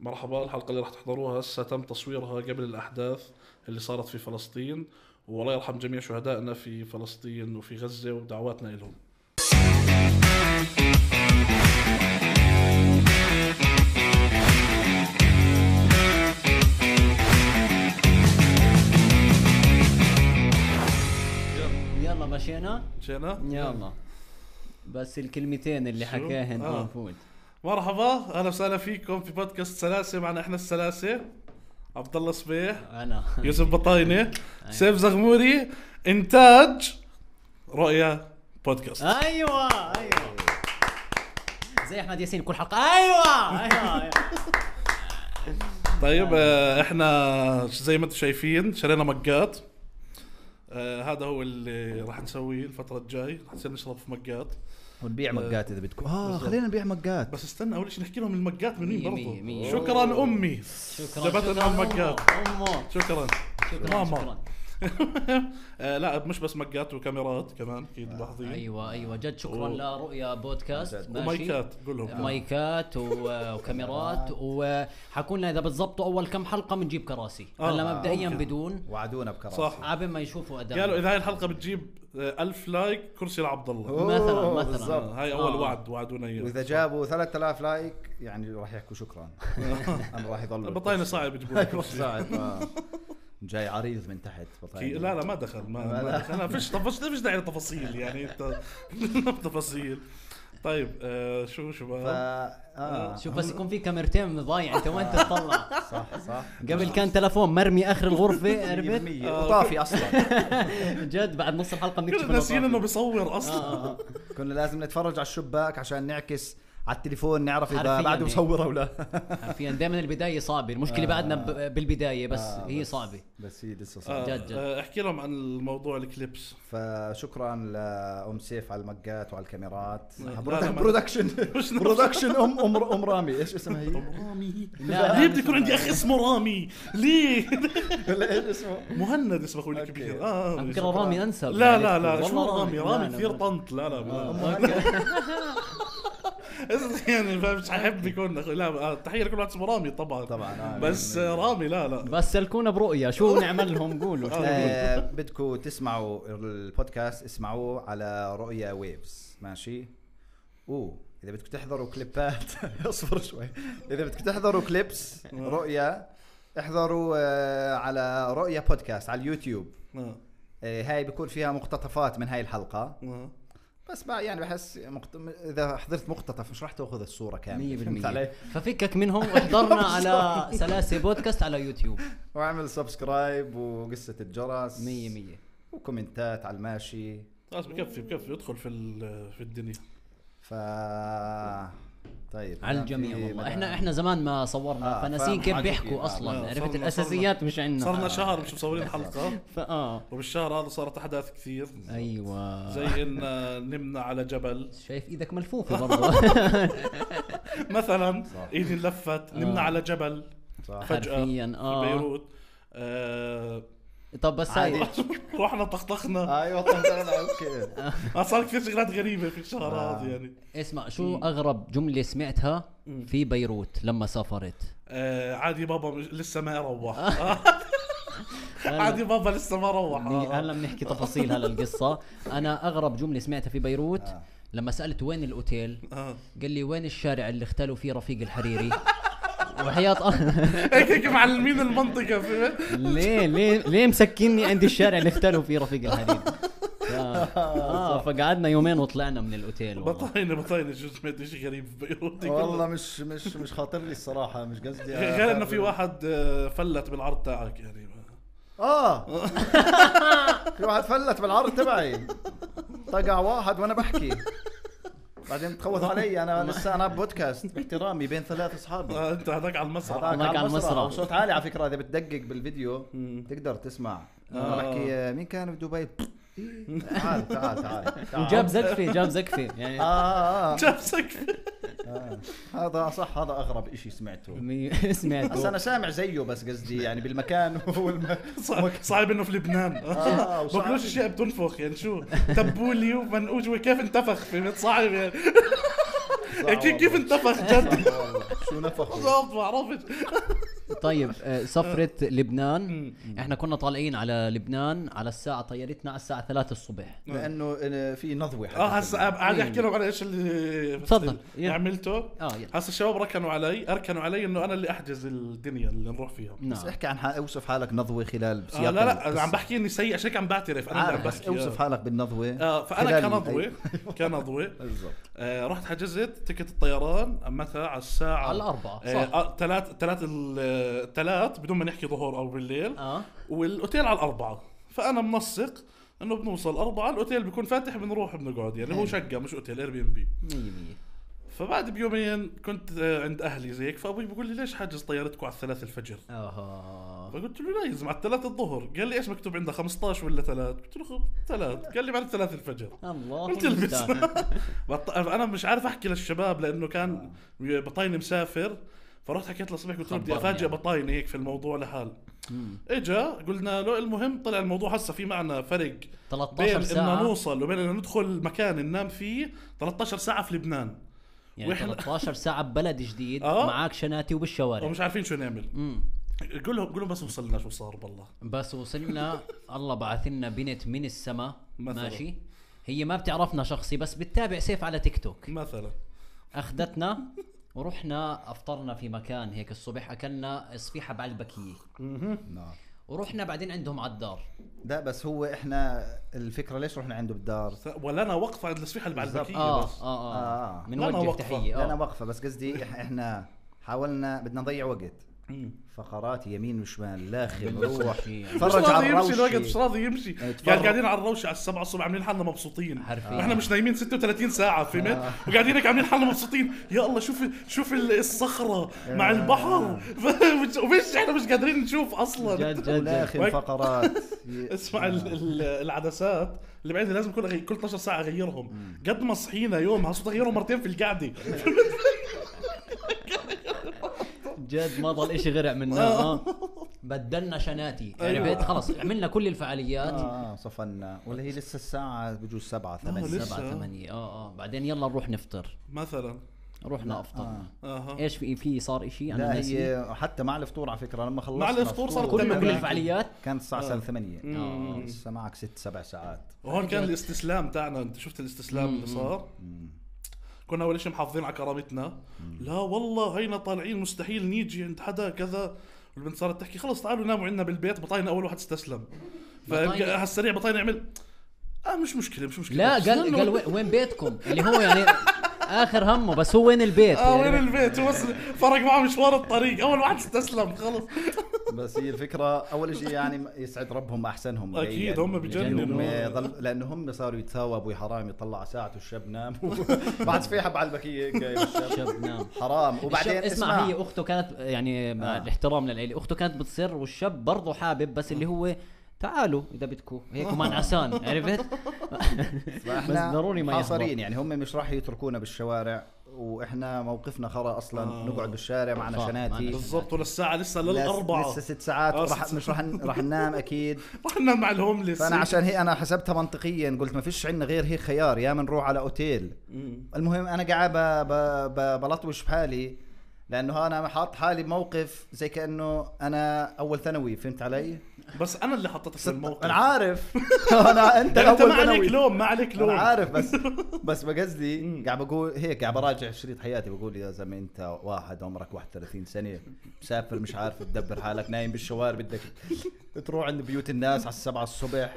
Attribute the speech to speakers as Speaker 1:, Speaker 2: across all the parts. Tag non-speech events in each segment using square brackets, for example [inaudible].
Speaker 1: مرحبا الحلقة اللي راح تحضروها هسه تم تصويرها قبل الأحداث اللي صارت في فلسطين والله يرحم جميع شهدائنا في فلسطين وفي غزة ودعواتنا لهم
Speaker 2: يلا مشينا
Speaker 1: مشينا؟
Speaker 2: يلا بس الكلمتين اللي
Speaker 1: شو؟
Speaker 2: حكاهن
Speaker 1: آه.
Speaker 2: المفروض
Speaker 1: مرحبا أهلا وسهلا فيكم في بودكاست سلاسة معنا إحنا السلاسة عبد الله صبيح [laughs]
Speaker 2: انا
Speaker 1: يوسف بطاينة سيف زغموري إنتاج رؤيا بودكاست
Speaker 2: ايوه ايوه زي احمد ياسين كل حلقه ايوه ايوه, أيوة.
Speaker 1: طيب آه، احنا زي ما انتم شايفين شرينا مجات آه هذا هو اللي راح نسويه الفترة الجاي راح نصير نشرب في مجات
Speaker 3: ونبيع مقات اذا بدكم اه
Speaker 1: بالضبط.
Speaker 3: آه، خلينا نبيع مقات
Speaker 1: بس استنى اول شيء نحكي لهم المجات من
Speaker 2: مية
Speaker 1: مين
Speaker 2: مية
Speaker 1: برضه
Speaker 2: مية.
Speaker 1: شكرا امي
Speaker 2: شكرا
Speaker 1: جابت لنا
Speaker 2: شكراً،
Speaker 1: مجات.
Speaker 2: امه
Speaker 1: شكرا
Speaker 2: شكرا
Speaker 1: ماما.
Speaker 2: شكرا
Speaker 1: [laughs] آه لا مش بس مجات وكاميرات كمان اكيد لاحظين
Speaker 2: ايوه ايوه جد شكرا
Speaker 1: و-
Speaker 2: لرؤيا بودكاست ماشي.
Speaker 1: ومايكات قول لهم
Speaker 2: مايكات و- وكاميرات وحكونا اذا بتزبطوا اول كم حلقه بنجيب كراسي
Speaker 1: آه،
Speaker 2: هلا مبدئيا
Speaker 1: ممكن.
Speaker 2: بدون
Speaker 3: وعدونا بكراسي
Speaker 1: صح.
Speaker 2: عبين ما يشوفوا اداء
Speaker 1: قالوا اذا هاي الحلقة بتجيب آه، ألف لايك كرسي لعبد الله
Speaker 3: أوه،
Speaker 2: مثلاً- مثلاً.
Speaker 3: بالضبط.
Speaker 1: هاي اول
Speaker 2: آه.
Speaker 1: وعد وعدونا اياه
Speaker 3: واذا جابوا 3000 لايك يعني راح يحكوا
Speaker 1: [laughs]
Speaker 3: شكرا انا راح يضل
Speaker 1: البطاينة
Speaker 3: [laughs]
Speaker 1: صعب يجيبوا لها كرسي.
Speaker 3: صعب آه. جاي عريض من
Speaker 1: [laughs]
Speaker 3: تحت
Speaker 1: كي-
Speaker 3: بطاينة
Speaker 1: لا لا ما دخل ما,
Speaker 3: لا،
Speaker 1: ما
Speaker 3: لا.
Speaker 1: دخل انا فيش طفش فيش داعي لتفاصيل يعني انت [laughs] تفاصيل طيب آه شو
Speaker 3: ف...
Speaker 1: شباب
Speaker 3: آه.
Speaker 2: شوف بس يكون في كاميرتين ضايع انت وين
Speaker 1: [laughs]
Speaker 2: تطلع
Speaker 3: صح صح [laughs]
Speaker 2: قبل كان تلفون مرمي اخر الغرفه عرفت
Speaker 3: 100%
Speaker 1: آه، [laughs]
Speaker 3: وطافي اصلا
Speaker 2: جد بعد نص الحلقه بنكتشف
Speaker 1: كنا
Speaker 2: إنه
Speaker 1: ناسيين انه
Speaker 2: طافي.
Speaker 1: بيصور اصلا
Speaker 2: آه، آه.
Speaker 3: كنا لازم نتفرج على الشباك عشان نعكس على التليفون نعرف اذا
Speaker 2: حرفياً
Speaker 3: بعده
Speaker 2: هيك.
Speaker 3: مصور او لا
Speaker 2: حرفيا دائما البدايه صعبه المشكله بعدنا ب- بالبدايه بس هي
Speaker 3: [laughs]
Speaker 2: صعبه
Speaker 3: آه. بس هي لسه
Speaker 1: آه
Speaker 3: صعبه
Speaker 2: جد جد.
Speaker 1: آه احكي لهم عن الموضوع الكليبس
Speaker 3: فشكرا لام سيف على المقات وعلى الكاميرات
Speaker 1: لا، لا،
Speaker 3: حضرتك
Speaker 1: ما- [laughs]
Speaker 3: برودكشن
Speaker 1: مش نفس-
Speaker 3: برودكشن ام ام ام رامي ايش اسمها هي؟ [laughs]
Speaker 1: رامي
Speaker 2: لا،
Speaker 1: ليه
Speaker 2: لا،
Speaker 1: بده
Speaker 2: مش
Speaker 1: يكون عندي اخ اسمه رامي ليه [laughs]
Speaker 3: ولا ايش اسمه؟
Speaker 1: مهند اسمه اخوي
Speaker 3: أوكي.
Speaker 1: الكبير اه
Speaker 2: على
Speaker 1: آه،
Speaker 2: فكره رامي انسب
Speaker 1: لا لا
Speaker 2: يعني
Speaker 1: لا
Speaker 2: والله
Speaker 1: شو رامي
Speaker 2: لا،
Speaker 1: رامي
Speaker 2: لا،
Speaker 1: كثير
Speaker 2: لا. آه.
Speaker 1: طنط لا لا [laughs] ما-
Speaker 2: أوكي.
Speaker 1: يعني فاهم مش ححب يكون أخوي. لا آه، تحيه لكل واحد اسمه رامي طبعا
Speaker 3: طبعاً، آه،
Speaker 1: بس
Speaker 3: مية
Speaker 1: آه، رامي لا لا
Speaker 2: بس سلكونا برؤيا شو نعمل لهم قولوا شو
Speaker 3: [laughs] آه، بدكم تسمعوا البودكاست اسمعوه على رؤيا ويفز ماشي؟ اوه اذا بدكم تحضروا كليبات [laughs] اصبر شوي اذا بدكم تحضروا كليبس رؤيا احضروا آه، على رؤيا بودكاست على اليوتيوب
Speaker 1: آه،
Speaker 3: آه، هاي بيكون فيها مقتطفات من هاي الحلقه
Speaker 1: آه.
Speaker 3: بس بقى يعني بحس مقت... اذا حضرت مقتطف مش راح تاخذ الصوره كامله فهمت
Speaker 2: 100%
Speaker 3: علي؟
Speaker 2: ففكك منهم
Speaker 3: [laughs]
Speaker 2: واحضرنا على سلاسة بودكاست على يوتيوب 100%
Speaker 3: واعمل سبسكرايب وقصه الجرس وكومنتات على الماشي
Speaker 1: خلاص بكفي بكفي ادخل في ال- في الدنيا
Speaker 3: ف طيب
Speaker 2: على
Speaker 3: كان
Speaker 2: الجميع
Speaker 3: في
Speaker 2: والله
Speaker 3: مدام-
Speaker 2: احنا احنا زمان ما صورنا
Speaker 3: آه،
Speaker 2: فناسين كيف
Speaker 3: فاهم.
Speaker 2: بيحكوا
Speaker 3: آه،
Speaker 2: اصلا
Speaker 1: صرنا-
Speaker 2: عرفت
Speaker 1: صرنا-
Speaker 2: الاساسيات مش عندنا آه.
Speaker 1: صرنا شهر مش مصورين حلقه
Speaker 2: فاه
Speaker 1: وبالشهر هذا صارت احداث كثير
Speaker 2: ايوه
Speaker 1: زي ان آه، نمنا على جبل
Speaker 2: شايف ايدك ملفوفه برضه
Speaker 3: [laughs]
Speaker 1: مثلا
Speaker 3: صح.
Speaker 1: ايدي لفت
Speaker 2: آه.
Speaker 1: نمنا على جبل
Speaker 3: صح
Speaker 1: فجاه في
Speaker 2: حرفيا اه
Speaker 1: بيروت آه،
Speaker 2: طب بس هاي
Speaker 3: عادي.
Speaker 1: [laughs] رحنا طخطخنا
Speaker 3: ايوه طلعنا
Speaker 2: [laughs]
Speaker 3: اوكي
Speaker 1: آه، صار كثير شغلات غريبه في الشهر
Speaker 3: آه.
Speaker 1: هذا يعني
Speaker 2: اسمع شو اغرب جمله سمعتها
Speaker 1: مم.
Speaker 2: في بيروت لما سافرت
Speaker 1: آه، عادي بابا مش- لسه ما روح آه،
Speaker 3: [laughs]
Speaker 2: هلا-
Speaker 1: عادي بابا لسه ما روح
Speaker 2: مني-
Speaker 1: آه.
Speaker 2: إيه، هلا بنحكي تفاصيل هلا القصه انا اغرب جمله سمعتها في بيروت
Speaker 3: آه.
Speaker 2: لما سالت وين الاوتيل
Speaker 1: آه.
Speaker 2: قال لي وين الشارع اللي اختلوا فيه رفيق الحريري وحياة الله
Speaker 1: هيك هيك معلمين المنطقه فهمت
Speaker 2: [laughs] ليه ليه ليه مسكني عند الشارع اللي اختلوا فيه رفيق الحريري ف- اه فقعدنا يومين وطلعنا من الاوتيل والله
Speaker 1: بطاينه بطاينه شو سمعت شيء غريب في بيروت
Speaker 3: والله مش مش مش خاطر لي الصراحه مش قصدي
Speaker 1: غير انه في واحد آه، فلت بالعرض تاعك يعني
Speaker 2: [laughs]
Speaker 3: اه في واحد فلت بالعرض تبعي طقع واحد وانا بحكي بعدين تخوث علي انا لسه انا بودكاست باحترامي بين ثلاث اصحابي
Speaker 1: آه، انت هذاك على المسرح
Speaker 3: هذاك
Speaker 2: هناك على
Speaker 3: على المسرح
Speaker 2: المسرح.
Speaker 3: وصوت عالي على فكره اذا بتدقق بالفيديو
Speaker 1: مم.
Speaker 3: تقدر تسمع
Speaker 1: آه.
Speaker 3: انا بحكي آه، مين كان بدبي إيه، [laughs] تعال تعال تعال تعال.
Speaker 2: وجاب زقفه جاب زقفه
Speaker 3: آه،
Speaker 2: يعني
Speaker 3: آه، آه.
Speaker 1: جاب سقف
Speaker 3: آه. هذا صح هذا اغرب إشي سمعته
Speaker 2: مي- [laughs]
Speaker 3: بس
Speaker 2: سمعته
Speaker 3: انا سامع زيه بس قصدي يعني بالمكان [laughs] والم...
Speaker 1: صع- صعب انه في لبنان [laughs]
Speaker 3: آه، وصعب.
Speaker 1: باكلوش اشياء بتنفخ يعني شو تبولي [laughs] ومنقوش وكيف انتفخ فهمت صعب يعني إيه، كيف كيف انتفخ جد
Speaker 3: [laughs] والله. شو نفخوا
Speaker 1: بالضبط ما عرفت
Speaker 2: طيب
Speaker 1: [laughs]
Speaker 2: آه، سفرة لبنان احنا كنا طالعين على لبنان على الساعة طيارتنا على الساعة 3 الصبح
Speaker 3: لانه إن- آه، في نضوه حتى
Speaker 1: اه هسه قاعد احكي لهم على ايش اللي
Speaker 2: تفضل. يلا.
Speaker 1: عملته
Speaker 2: اه يلا
Speaker 1: هسه الشباب ركنوا علي اركنوا علي انه انا اللي احجز الدنيا اللي نروح فيها
Speaker 3: بس
Speaker 2: نعم
Speaker 3: احكي عن حالك اوصف حالك نضوه خلال
Speaker 1: آه لا لا أنا
Speaker 3: القصة.
Speaker 1: عم بحكي اني سيء عشان هيك عم بعترف انا
Speaker 2: آه،
Speaker 1: اللي عم
Speaker 3: عارف بس
Speaker 1: بحكي
Speaker 3: اوصف حالك بالنضوه
Speaker 1: آه فانا
Speaker 3: خلال-
Speaker 1: كنضوي كنضوي
Speaker 3: بالضبط
Speaker 1: آه رحت حجزت تكت الطيران متى على الساعه
Speaker 2: على الأربعة صح
Speaker 1: آه ثلاث ثلاث الثلاث آه، بدون ما نحكي ظهور او بالليل
Speaker 2: اه
Speaker 1: والاوتيل على الاربعه فانا منسق انه بنوصل أربعة الاوتيل بيكون فاتح بنروح بنقعد يعني هو
Speaker 2: حلو.
Speaker 1: شقه مش اوتيل اير بي ام بي
Speaker 2: 100%
Speaker 1: فبعد بيومين كنت آه، عند اهلي زيك فابوي بيقول لي ليش حاجز طيارتكم على الثلاث الفجر
Speaker 2: اها
Speaker 1: فقلت له لا يلزم على الثلاث الظهر قال لي ايش مكتوب عندها 15 ولا ثلاث قلت له خب- ثلاث قال لي بعد الثلاث الفجر
Speaker 2: الله
Speaker 1: قلت البس
Speaker 2: المستعان.
Speaker 1: [laughs] بط- انا مش عارف احكي للشباب لانه كان بطايني مسافر فرحت حكيت له الصبح قلت له بدي
Speaker 2: خبرني
Speaker 1: افاجئ
Speaker 2: يعني.
Speaker 1: بطايني هيك في الموضوع لحال
Speaker 2: مم.
Speaker 1: اجا قلنا له المهم طلع الموضوع هسه في معنا فرق
Speaker 2: 13
Speaker 1: بين
Speaker 2: ساعة
Speaker 1: ان نوصل وبين ان ندخل مكان ننام فيه 13 ساعه في لبنان
Speaker 2: يعني
Speaker 1: وإحنا-
Speaker 2: 13 ساعة ببلد جديد
Speaker 1: آه.
Speaker 2: معاك شناتي وبالشوارع
Speaker 1: ومش عارفين شو نعمل
Speaker 2: مم.
Speaker 1: قول لهم قول لهم بس وصلنا شو صار بالله
Speaker 2: بس وصلنا الله بعث لنا بنت من السماء
Speaker 1: مثلاً.
Speaker 2: ماشي هي ما بتعرفنا شخصي بس بتتابع سيف على تيك توك
Speaker 1: مثلا
Speaker 2: اخذتنا ورحنا افطرنا في مكان هيك الصبح اكلنا صفيحه بعلبكيه
Speaker 3: نار
Speaker 2: ورحنا بعدين عندهم على الدار
Speaker 3: نعم. لا بس هو احنا الفكره ليش رحنا عنده بالدار
Speaker 1: ولنا وقفه عند الصفيحه اللي
Speaker 3: بالضبط.
Speaker 1: بعلبكيه
Speaker 2: اه
Speaker 1: إيه، بس
Speaker 2: اه اه
Speaker 3: آه.
Speaker 1: لنا
Speaker 2: بنوجه
Speaker 1: وقفة.
Speaker 2: تحيه
Speaker 3: لا انا
Speaker 2: اه
Speaker 3: واقفه بس قصدي إح- احنا حاولنا بدنا نضيع وقت فقرات يمين وشمال لا
Speaker 2: آه.
Speaker 3: روح
Speaker 2: بالروشي.
Speaker 1: مش
Speaker 3: تفرج
Speaker 1: راضي
Speaker 3: على
Speaker 1: يمشي الوقت مش
Speaker 3: الروشي
Speaker 1: راضي يمشي
Speaker 3: اتفرج.
Speaker 1: قاعد قاعدين على الروشه على السبعة الصبح عاملين حالنا مبسوطين
Speaker 2: حرفياً.
Speaker 1: واحنا مش نايمين 36 ساعه فهمت وقاعدين هيك عاملين حالنا مبسوطين يا الله شوف شوف ال- الصخره مع البحر [laughs] ومش- ومش احنا مش قادرين نشوف اصلا
Speaker 2: جد جد
Speaker 3: ولا
Speaker 2: جد
Speaker 3: اخي الفقرات
Speaker 1: [laughs]
Speaker 3: ي-
Speaker 1: اسمع ال- ال- العدسات اللي بعدين لازم كل أغي- كل 12 ساعه اغيرهم قد ما صحينا يوم هصوت اغيرهم مرتين في القعده
Speaker 2: جد ما ضل اشي غرع منا آه. بدلنا شناتي
Speaker 1: أيوة.
Speaker 2: عرفت خلص عملنا كل الفعاليات
Speaker 3: اه صفنا ولا هي لسه الساعه بجوز سبعة
Speaker 1: آه، لسه.
Speaker 3: ثمانية
Speaker 2: سبعة ثمانية اه اه بعدين يلا نروح نفطر
Speaker 1: مثلا
Speaker 2: رحنا افطرنا
Speaker 1: اها
Speaker 2: ايش في في صار اشي انا
Speaker 3: آه. لا
Speaker 2: ناسي
Speaker 3: هي حتى مع الفطور على فكره لما خلصنا
Speaker 1: مع الفطور صارت
Speaker 3: فطور،
Speaker 1: تمام.
Speaker 2: كل الفعاليات
Speaker 3: كانت الساعه
Speaker 1: آه.
Speaker 3: صار 8
Speaker 2: آه.
Speaker 3: لسه معك ست سبع ساعات
Speaker 1: وهون
Speaker 3: أيوة.
Speaker 1: كان الاستسلام تاعنا انت شفت الاستسلام اللي صار كنا اول شيء محافظين على كرامتنا لا والله هينا طالعين مستحيل نيجي عند حدا كذا والبنت صارت تحكي خلص تعالوا ناموا عندنا بالبيت بطاينا اول واحد استسلم
Speaker 2: بطاينة-
Speaker 1: فعلى السريع بطاينا عمل اه مش مشكله مش مشكله
Speaker 2: لا قال
Speaker 1: استنوا.
Speaker 2: قال وين- وين بيتكم اللي هو يعني اخر همه بس هو وين البيت
Speaker 1: اه وين
Speaker 2: يعني.
Speaker 1: البيت هو بس فرق معه مشوار الطريق اول واحد استسلم خلص
Speaker 3: بس هي الفكره اول شيء يعني يسعد ربهم احسنهم
Speaker 1: أكيد،
Speaker 3: يعني.
Speaker 1: هم بجننوا.
Speaker 3: هم ظل- لانه هم صاروا يتساووا ابوي حرام يطلع على ساعته الشاب نام [laughs] بعد في حب على البكيه هيك جايب الشاب
Speaker 2: شاب نام
Speaker 3: حرام وبعدين
Speaker 2: الشاب- يعني اسمع, هي اخته كانت يعني مع
Speaker 3: آه.
Speaker 2: الاحترام للعيله اخته كانت بتصر والشاب برضه حابب بس اللي هو تعالوا اذا بدكم هيك
Speaker 3: [laughs]
Speaker 2: ومنعسان عرفت بس ضروري ما
Speaker 3: حاصرين
Speaker 2: يحضر
Speaker 3: يعني هم مش راح يتركونا بالشوارع واحنا موقفنا خرا اصلا
Speaker 1: آه.
Speaker 3: نقعد بالشارع
Speaker 2: صح،
Speaker 3: معنا
Speaker 2: معنا
Speaker 3: شناتي
Speaker 2: شناتي.
Speaker 1: بالضبط وللساعه لسه للاربعه
Speaker 3: لسه ست ساعات
Speaker 1: آه،
Speaker 3: راح
Speaker 1: ست
Speaker 3: مش راح ن- راح ننام اكيد
Speaker 1: رحنا مع الهومليس
Speaker 3: فانا عشان هي انا حسبتها منطقيا قلت ما فيش عندنا غير هيك خيار يا من نروح على اوتيل
Speaker 1: مم.
Speaker 3: المهم انا قاعد ب- ب- ب- بلطوش بحالي لانه انا حاط حالي بموقف زي كانه انا اول ثانوي فهمت علي؟
Speaker 1: بس انا اللي حطيتك في الموقف
Speaker 3: انا
Speaker 1: [laughs]
Speaker 3: عارف انا انت
Speaker 1: يعني انت
Speaker 3: الاول
Speaker 1: ما عليك
Speaker 3: ثانوي
Speaker 1: لوم ما عليك لوم
Speaker 3: انا عارف بس بس بقصدي قاعد بقول هيك قاعد براجع شريط حياتي بقول يا زلمه انت واحد عمرك 31 سنه مسافر مش عارف تدبر حالك نايم بالشوارع بدك تروح عند بيوت الناس على السبعة الصبح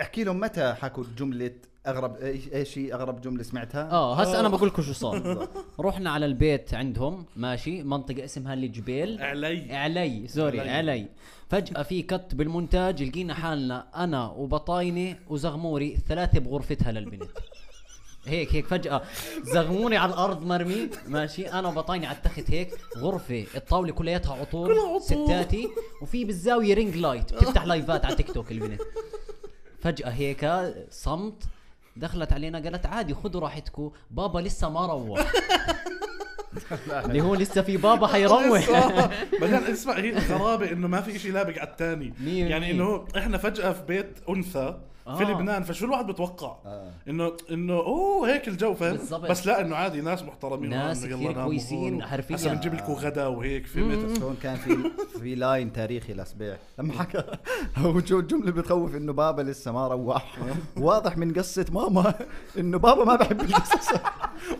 Speaker 3: احكي لهم متى حكوا جمله اغرب ايش ايش هي اغرب جمله سمعتها؟
Speaker 2: اه هسا انا بقول لكم شو صار رحنا على البيت عندهم ماشي منطقه اسمها الجبيل
Speaker 1: علي
Speaker 2: علي سوري
Speaker 1: علي.
Speaker 2: علي. فجأة في كت بالمونتاج لقينا حالنا أنا وبطايني وزغموري ثلاثة بغرفتها للبنت هيك هيك فجأة زغموري على الأرض مرمي ماشي أنا وبطايني على التخت هيك غرفة الطاولة كلياتها عطور
Speaker 1: كلها عطور.
Speaker 2: ستاتي وفي بالزاوية رينج لايت بتفتح لايفات على تيك توك البنت فجأة هيك
Speaker 1: [laughs]
Speaker 2: صمت دخلت علينا قالت عادي خذوا راحتكم بابا لسه ما روح اللي هو لسه في بابا حيروح
Speaker 1: بعدين اسمع هي الغرابه انه ما في إشي لابق على الثاني
Speaker 2: مية
Speaker 1: يعني
Speaker 2: بالمية.
Speaker 1: انه احنا فجاه في بيت انثى في
Speaker 2: آه.
Speaker 1: لبنان فشو الواحد بتوقع
Speaker 3: آه.
Speaker 1: انه انه اوه هيك الجو فاهم
Speaker 2: بالضبط.
Speaker 1: بس لا انه عادي ناس محترمين
Speaker 2: ناس
Speaker 1: وإنه يلا
Speaker 2: كتير
Speaker 1: ناموا
Speaker 2: كويسين
Speaker 1: هون.
Speaker 2: حرفياً. آه.
Speaker 1: هسا بنجيب لكم غدا وهيك فهمت
Speaker 3: هون كان في في لاين تاريخي لسبيع لما حكى [laughs] هو جو- جمله بتخوف انه بابا لسه ما روح واضح من قصه ماما انه بابا ما بحب القصص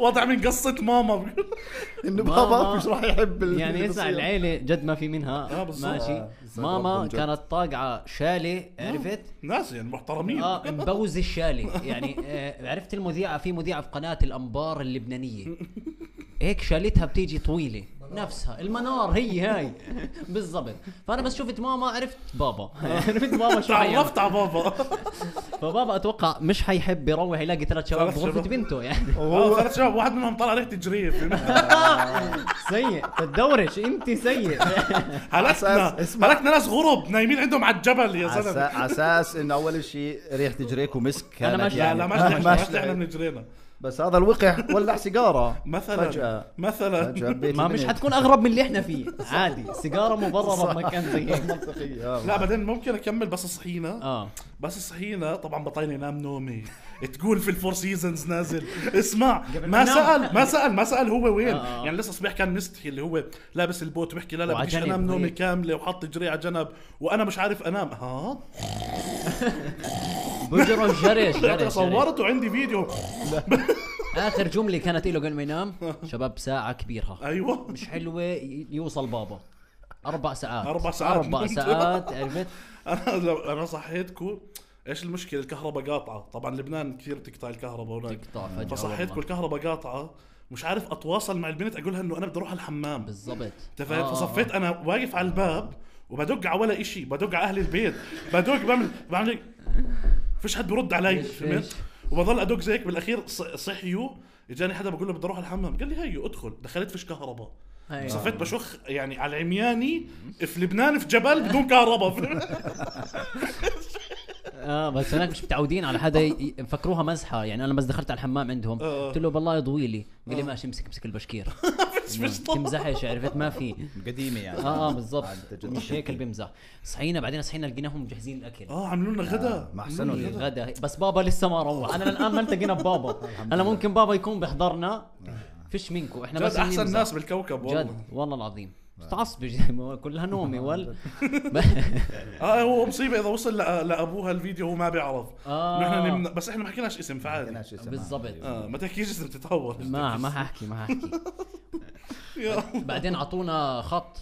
Speaker 1: وضع من قصه ماما [laughs]
Speaker 3: انه
Speaker 2: ماما.
Speaker 3: بابا مش راح يحب ال-
Speaker 2: يعني اسمع
Speaker 3: القصير.
Speaker 2: العيله جد ما في منها
Speaker 1: آه، بالظبط.
Speaker 2: ماشي
Speaker 3: آه، بالظبط.
Speaker 2: ماما
Speaker 3: ربهم جد.
Speaker 2: كانت طاقعه شاله عرفت
Speaker 1: ناس يعني محترمين
Speaker 2: اه مبوز الشالي يعني آه عرفت المذيعه في مذيعه في قناه الانبار اللبنانيه هيك شالتها بتيجي طويله نفسها المنار هي هاي بالضبط فانا بس شفت ماما عرفت بابا عرفت بابا شو حيعمل.
Speaker 1: آه. تعرفت على
Speaker 2: [laughs]
Speaker 1: بابا آه،
Speaker 2: فبابا اتوقع مش حيحب يروح يلاقي ثلاث شباب
Speaker 1: ثلاث
Speaker 2: بغرفه
Speaker 1: شباب.
Speaker 2: بنته يعني
Speaker 1: اه ثلاث شباب واحد منهم طلع ريحه جريف يعني.
Speaker 2: آه. سيء تدورش انت سيء
Speaker 1: هلكنا
Speaker 3: عساس- اسمع.
Speaker 1: هلكنا ناس غرب نايمين عندهم على الجبل يا
Speaker 3: عسا-
Speaker 1: زلمه
Speaker 3: عساس انه اول شيء ريحه جريك ومسك كانت
Speaker 2: ماشي.
Speaker 1: لا لا
Speaker 3: [laughs]
Speaker 1: ما
Speaker 3: آه،
Speaker 1: شلعنا ما
Speaker 3: شلعت.
Speaker 1: شلعنا من جرينا
Speaker 3: بس هذا الوقع ولع سيجاره
Speaker 1: مثلا
Speaker 3: فجاه
Speaker 1: مثلا
Speaker 2: [laughs]
Speaker 3: فجاه بيت
Speaker 2: ما مش
Speaker 3: البنت. [laughs]
Speaker 2: حتكون اغرب من اللي احنا فيه عادي سيجاره مبرره
Speaker 3: صح.
Speaker 2: بمكان زي هيك
Speaker 3: منطقية.
Speaker 1: [laughs]
Speaker 3: آه.
Speaker 1: لا بعدين ممكن اكمل بس صحينا
Speaker 2: اه
Speaker 1: بس صحينا طبعا بطيني نام نومي تقول في الفور سيزونز نازل اسمع ما
Speaker 2: ما نام.
Speaker 1: سال ما سال ما سال هو وين
Speaker 2: آه.
Speaker 1: يعني لسه صبيح كان مستحي اللي هو لابس البوت وبيحكي لا لا
Speaker 2: وعلى
Speaker 1: بديش
Speaker 2: جنب
Speaker 1: انام نومي
Speaker 2: وهيك.
Speaker 1: كامله وحط جري على جنب وانا مش عارف انام ها
Speaker 2: بجرى
Speaker 1: [laughs]
Speaker 2: جرش جرش
Speaker 1: صورته عندي فيديو
Speaker 2: اخر جمله كانت له قبل ما
Speaker 1: [laughs]
Speaker 2: ينام شباب ساعه كبيرها
Speaker 1: ايوه
Speaker 2: مش حلوه ي- يوصل بابا اربع ساعات
Speaker 1: أربع ساعات.
Speaker 2: اربع ساعات عرفت
Speaker 1: انا [laughs] لو انا صحيتكم ايش المشكله الكهرباء قاطعه طبعا لبنان كثير تقطع الكهرباء هناك
Speaker 2: تقطع فجاه
Speaker 1: فصحيتكم
Speaker 2: والله.
Speaker 1: الكهرباء قاطعه مش عارف اتواصل مع البنت اقول لها انه انا بدي اروح على الحمام
Speaker 2: بالضبط
Speaker 1: انت فاهم
Speaker 2: آه،
Speaker 1: فصفيت انا واقف على الباب وبدق على ولا إشي بدق على اهل البيت بدق بعمل بعمل هيك. فيش حد برد علي
Speaker 2: ليش- ليش؟
Speaker 1: فهمت وبضل ادق زيك بالاخير ص- صحيوا اجاني حدا بقول له بدي اروح على الحمام قال لي هيو ادخل دخلت فيش كهرباء
Speaker 2: آه. هاي.
Speaker 1: صفيت بشخ يعني على العمياني في لبنان في جبل بدون كهرباء [laughs]
Speaker 2: اه بس هناك مش متعودين على حدا ي- يفكروها مزحه يعني انا بس دخلت على الحمام عندهم
Speaker 1: آه.
Speaker 2: قلت له بالله يضوي لي قال لي ماشي امسك
Speaker 1: [laughs]
Speaker 2: امسك البشكير
Speaker 1: مش مش طبيعي.
Speaker 2: تمزحش عرفت ما في
Speaker 3: قديمه يعني
Speaker 2: اه اه بالضبط
Speaker 3: عاد جد.
Speaker 2: مش هيك اللي بيمزح صحينا بعدين صحينا لقيناهم مجهزين الاكل
Speaker 1: اه عملوا لنا غدا
Speaker 3: آه، ما أحسنوا لي.
Speaker 1: غدا.
Speaker 2: غدا بس بابا لسه ما روح انا الان ما التقينا
Speaker 3: [laughs]
Speaker 2: ببابا انا ممكن بابا يكون بيحضرنا
Speaker 3: آه.
Speaker 2: فيش منكم احنا
Speaker 1: جد
Speaker 2: بس
Speaker 1: احسن
Speaker 2: بنمزح.
Speaker 1: ناس بالكوكب والله
Speaker 2: جد والله العظيم
Speaker 3: آه.
Speaker 2: متعصب كلها نومي وال
Speaker 1: اه هو مصيبه اذا وصل لأ- لابوها الفيديو هو ما بيعرف
Speaker 2: آه.
Speaker 1: نحن نمنا بس احنا ما حكيناش اسم فعادي
Speaker 3: كناش اسمها.
Speaker 2: بالضبط
Speaker 1: اه ما تحكيش اسم تتهور
Speaker 2: [laughs] ما ما ححكي ما ححكي
Speaker 1: [laughs] يا.
Speaker 2: بعدين اعطونا خط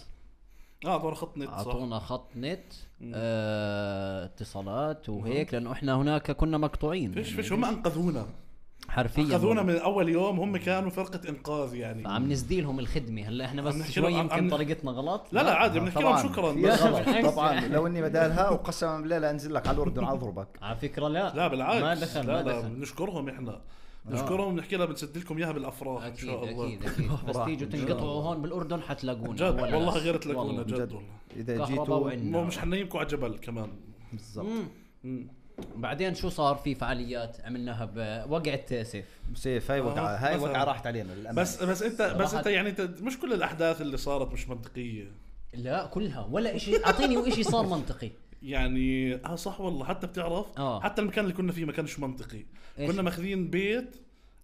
Speaker 1: اه طبعا خط نت صح
Speaker 2: اعطونا خط نت آه، اتصالات وهيك لانه احنا هناك كنا مقطوعين
Speaker 1: فيش
Speaker 2: يعني
Speaker 1: فيش هم انقذونا
Speaker 2: حرفيا
Speaker 1: انقذونا
Speaker 2: والله.
Speaker 1: من اول يوم هم كانوا فرقه انقاذ يعني
Speaker 2: فعم نزدي لهم الخدمه هلا احنا
Speaker 1: عم
Speaker 2: بس
Speaker 1: نحكي
Speaker 2: شوي
Speaker 1: لهم- عم-
Speaker 2: يمكن طريقتنا غلط
Speaker 1: لا لا عادي بنحكي لهم
Speaker 3: طبعاً.
Speaker 1: شكرا
Speaker 2: [laughs]
Speaker 3: في
Speaker 1: بس.
Speaker 3: غلط.
Speaker 2: بالعكس.
Speaker 3: طبعا لو اني بدالها وقسما بالله لا انزل لك على الاردن اضربك
Speaker 2: على فكره لا
Speaker 1: لا بالعكس
Speaker 2: ما دخل
Speaker 1: لا
Speaker 2: ما
Speaker 1: لا
Speaker 2: دخل آه.
Speaker 1: بنشكرهم احنا بنشكرهم بنحكي لها بنسد لكم اياها بالافراح ان
Speaker 2: اكيد
Speaker 1: شاء الله
Speaker 2: اكيد
Speaker 1: [laughs]
Speaker 2: اكيد بس
Speaker 3: راح.
Speaker 2: تيجوا تنقطعوا هون بالاردن حتلاقونا
Speaker 1: جد والله غير تلاقونا
Speaker 2: [laughs] والله.
Speaker 1: جد والله
Speaker 3: اذا
Speaker 2: كهرباء
Speaker 3: جيتوا
Speaker 2: وعنا.
Speaker 1: مو مش حنيمكم على جبل كمان
Speaker 3: بالضبط
Speaker 2: بعدين شو صار في فعاليات عملناها بوقعه سيف
Speaker 3: سيف هاي وقعه
Speaker 1: آه،
Speaker 3: هاي
Speaker 1: مثلاً.
Speaker 3: وقعه راحت علينا للامانه
Speaker 1: بس بس انت بس
Speaker 2: صراحة-
Speaker 1: انت يعني انت مش كل الاحداث اللي صارت مش منطقيه
Speaker 2: لا كلها ولا شيء اعطيني وإشي صار
Speaker 1: [laughs]
Speaker 2: منطقي
Speaker 1: يعني اه صح والله حتى بتعرف
Speaker 2: آه.
Speaker 1: حتى المكان اللي كنا فيه ما كانش منطقي
Speaker 2: إيش؟
Speaker 1: كنا ماخذين بيت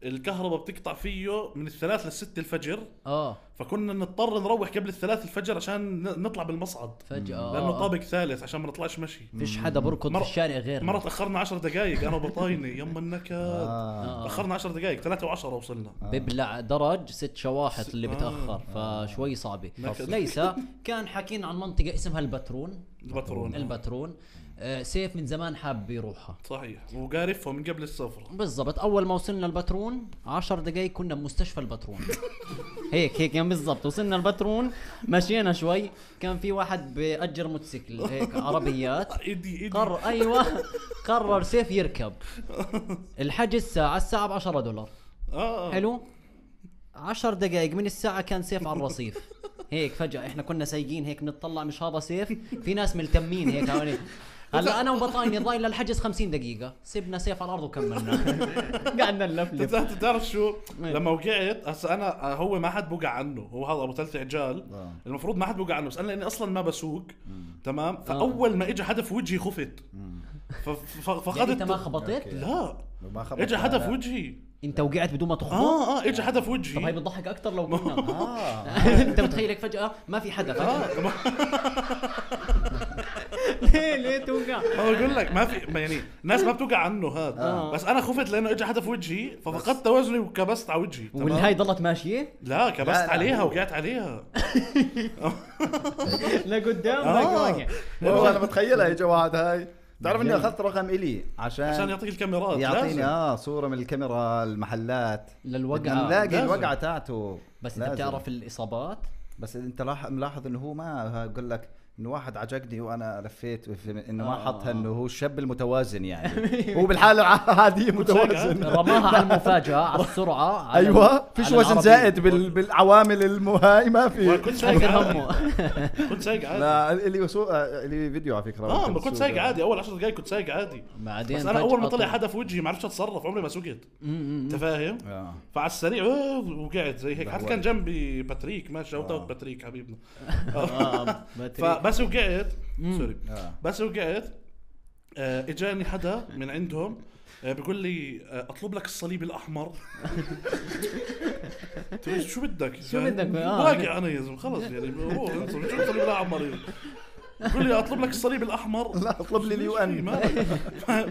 Speaker 1: الكهرباء بتقطع فيه من الثلاث للست الفجر
Speaker 2: اه
Speaker 1: فكنا نضطر نروح قبل الثلاث الفجر عشان ن- نطلع بالمصعد
Speaker 2: فجاه
Speaker 1: لانه
Speaker 2: آه.
Speaker 1: طابق ثالث عشان ما نطلعش مشي
Speaker 2: فيش حدا بركض في
Speaker 1: مرة-
Speaker 2: الشارع غير
Speaker 1: مره تاخرنا 10 دقائق انا وبطايني يما النكد
Speaker 3: آه.
Speaker 1: تاخرنا 10 دقائق 3 و10 وصلنا
Speaker 2: ببلع درج ست شواحط اللي
Speaker 1: آه.
Speaker 2: بتاخر فشوي صعبه
Speaker 1: نكد.
Speaker 2: ليس كان حكينا عن منطقه اسمها البترون
Speaker 1: البترون
Speaker 2: نعم. البترون آه، سيف من زمان حاب يروحها
Speaker 1: صحيح وقارفهم من قبل السفر
Speaker 2: بالضبط اول ما وصلنا البترون 10 دقائق كنا بمستشفى [laughs] البترون هيك هيك يعني بالضبط وصلنا البترون مشينا شوي كان في واحد بأجر موتوسيكل [laughs] هيك عربيات
Speaker 1: ايدي ايدي
Speaker 2: قرر ايوه قرر سيف يركب الحجز ساعة الساعة ب 10 دولار
Speaker 1: اه آه.
Speaker 2: حلو 10 دقائق من الساعة كان سيف على الرصيف هيك فجأة احنا كنا سايقين هيك بنطلع مش هذا سيف في ناس ملتمين هيك حوالين هلا انا وبطايني ضايل للحجز 50 دقيقه سيبنا سيف على الارض وكملنا قعدنا نلفلف
Speaker 1: انت بتعرف شو
Speaker 2: إيه.
Speaker 1: لما وقعت هسا انا هو ما حد بوقع عنه هو هذا ابو ثلاث عجال
Speaker 3: آه.
Speaker 1: المفروض ما حد بوقع عنه بس انا لاني اصلا ما بسوق
Speaker 3: آه.
Speaker 1: تمام فاول ما اجى هدف وجهي خفت ف- ف-
Speaker 2: يعني انت ما
Speaker 1: فقدت
Speaker 2: خبطت
Speaker 3: أوكي.
Speaker 1: لا
Speaker 3: ما خبط
Speaker 1: اجى هدف
Speaker 3: لا.
Speaker 1: وجهي
Speaker 2: انت وقعت بدون ما تخبط
Speaker 1: اه اه اجى هدف
Speaker 2: طب هاي
Speaker 1: وجهي
Speaker 2: بتضحك اكثر لو [laughs] قلنا
Speaker 3: اه
Speaker 2: انت متخيلك فجاه ما في حدا فجاه
Speaker 1: [laughs] اه ما-
Speaker 2: [laughs] ليه ليه توقع
Speaker 1: ما بقول لك ما في ما يعني الناس ما بتوقع عنه هذا
Speaker 2: آه.
Speaker 1: بس انا خفت لانه اجى هدف وجهي ففقدت توازني وكبست على وجهي
Speaker 2: والهاي ضلت ماشيه
Speaker 1: لا كبست
Speaker 3: لا، لا،
Speaker 1: عليها
Speaker 3: هو-
Speaker 1: وقعت عليها
Speaker 2: [laughs] لقدام
Speaker 1: آه.
Speaker 2: واقع
Speaker 3: والله انا بتخيلها اجى واحد هاي بتعرف اني اخذت رقم الي عشان
Speaker 1: عشان يعطيك الكاميرات لازم.
Speaker 3: يعطيني اه صوره من الكاميرا المحلات بدنا
Speaker 2: للوقعه
Speaker 3: نلاقي
Speaker 1: لازم.
Speaker 3: الوقعه تاعته
Speaker 2: بس انت
Speaker 3: لازم.
Speaker 2: بتعرف الاصابات
Speaker 3: بس انت لاح- ملاحظ انه هو ما قال لك انه واحد عجقني وانا لفيت في- انه ما
Speaker 2: آه.
Speaker 3: حطها انه هو الشاب المتوازن يعني هو بالحاله العاديه متوازن
Speaker 2: رماها على المفاجاه على السرعه
Speaker 3: [laughs]
Speaker 2: على
Speaker 3: ايوه
Speaker 2: ال-
Speaker 3: فيش
Speaker 2: على
Speaker 3: وزن
Speaker 2: العربية.
Speaker 3: زائد بال- بالعوامل المهاي ما في
Speaker 1: كنت سايق
Speaker 2: شايل
Speaker 1: عادي
Speaker 2: همه
Speaker 1: كنت سايق عادي
Speaker 3: لا يعني. اللي وسو... آه، اللي فيديو على فكره
Speaker 1: اه
Speaker 3: ممكن
Speaker 1: ما كنت
Speaker 3: تسوقه.
Speaker 1: سايق عادي اول 10 دقائق كنت سايق عادي
Speaker 2: بعدين
Speaker 1: بس انا اول ما طلع
Speaker 2: حد
Speaker 1: حدا في وجهي ما عرفتش اتصرف عمري ما سقت انت فاهم
Speaker 3: آه.
Speaker 1: فعلى السريع آه، وقعت زي هيك
Speaker 3: لا،
Speaker 1: حتى
Speaker 3: هو-
Speaker 1: كان جنبي باتريك ما شوت اوت
Speaker 3: آه.
Speaker 1: باتريك حبيبنا
Speaker 2: ف...
Speaker 1: [laughs] فبس وقعت
Speaker 2: مم.
Speaker 1: سوري
Speaker 3: آه.
Speaker 1: بس وقعت آه، اجاني حدا من عندهم آه، بيقول لي آه، اطلب لك الصليب [laughs] الاحمر قلت له شو بدك؟ يعني
Speaker 2: شو بدك؟ آه.
Speaker 1: واقع انا يا زلمه خلص يعني روح انزل، شو الصليب الاحمر يا زلمة؟ بيقول لي اطلب لك الصليب الاحمر
Speaker 3: لا اطلب لي اليو ان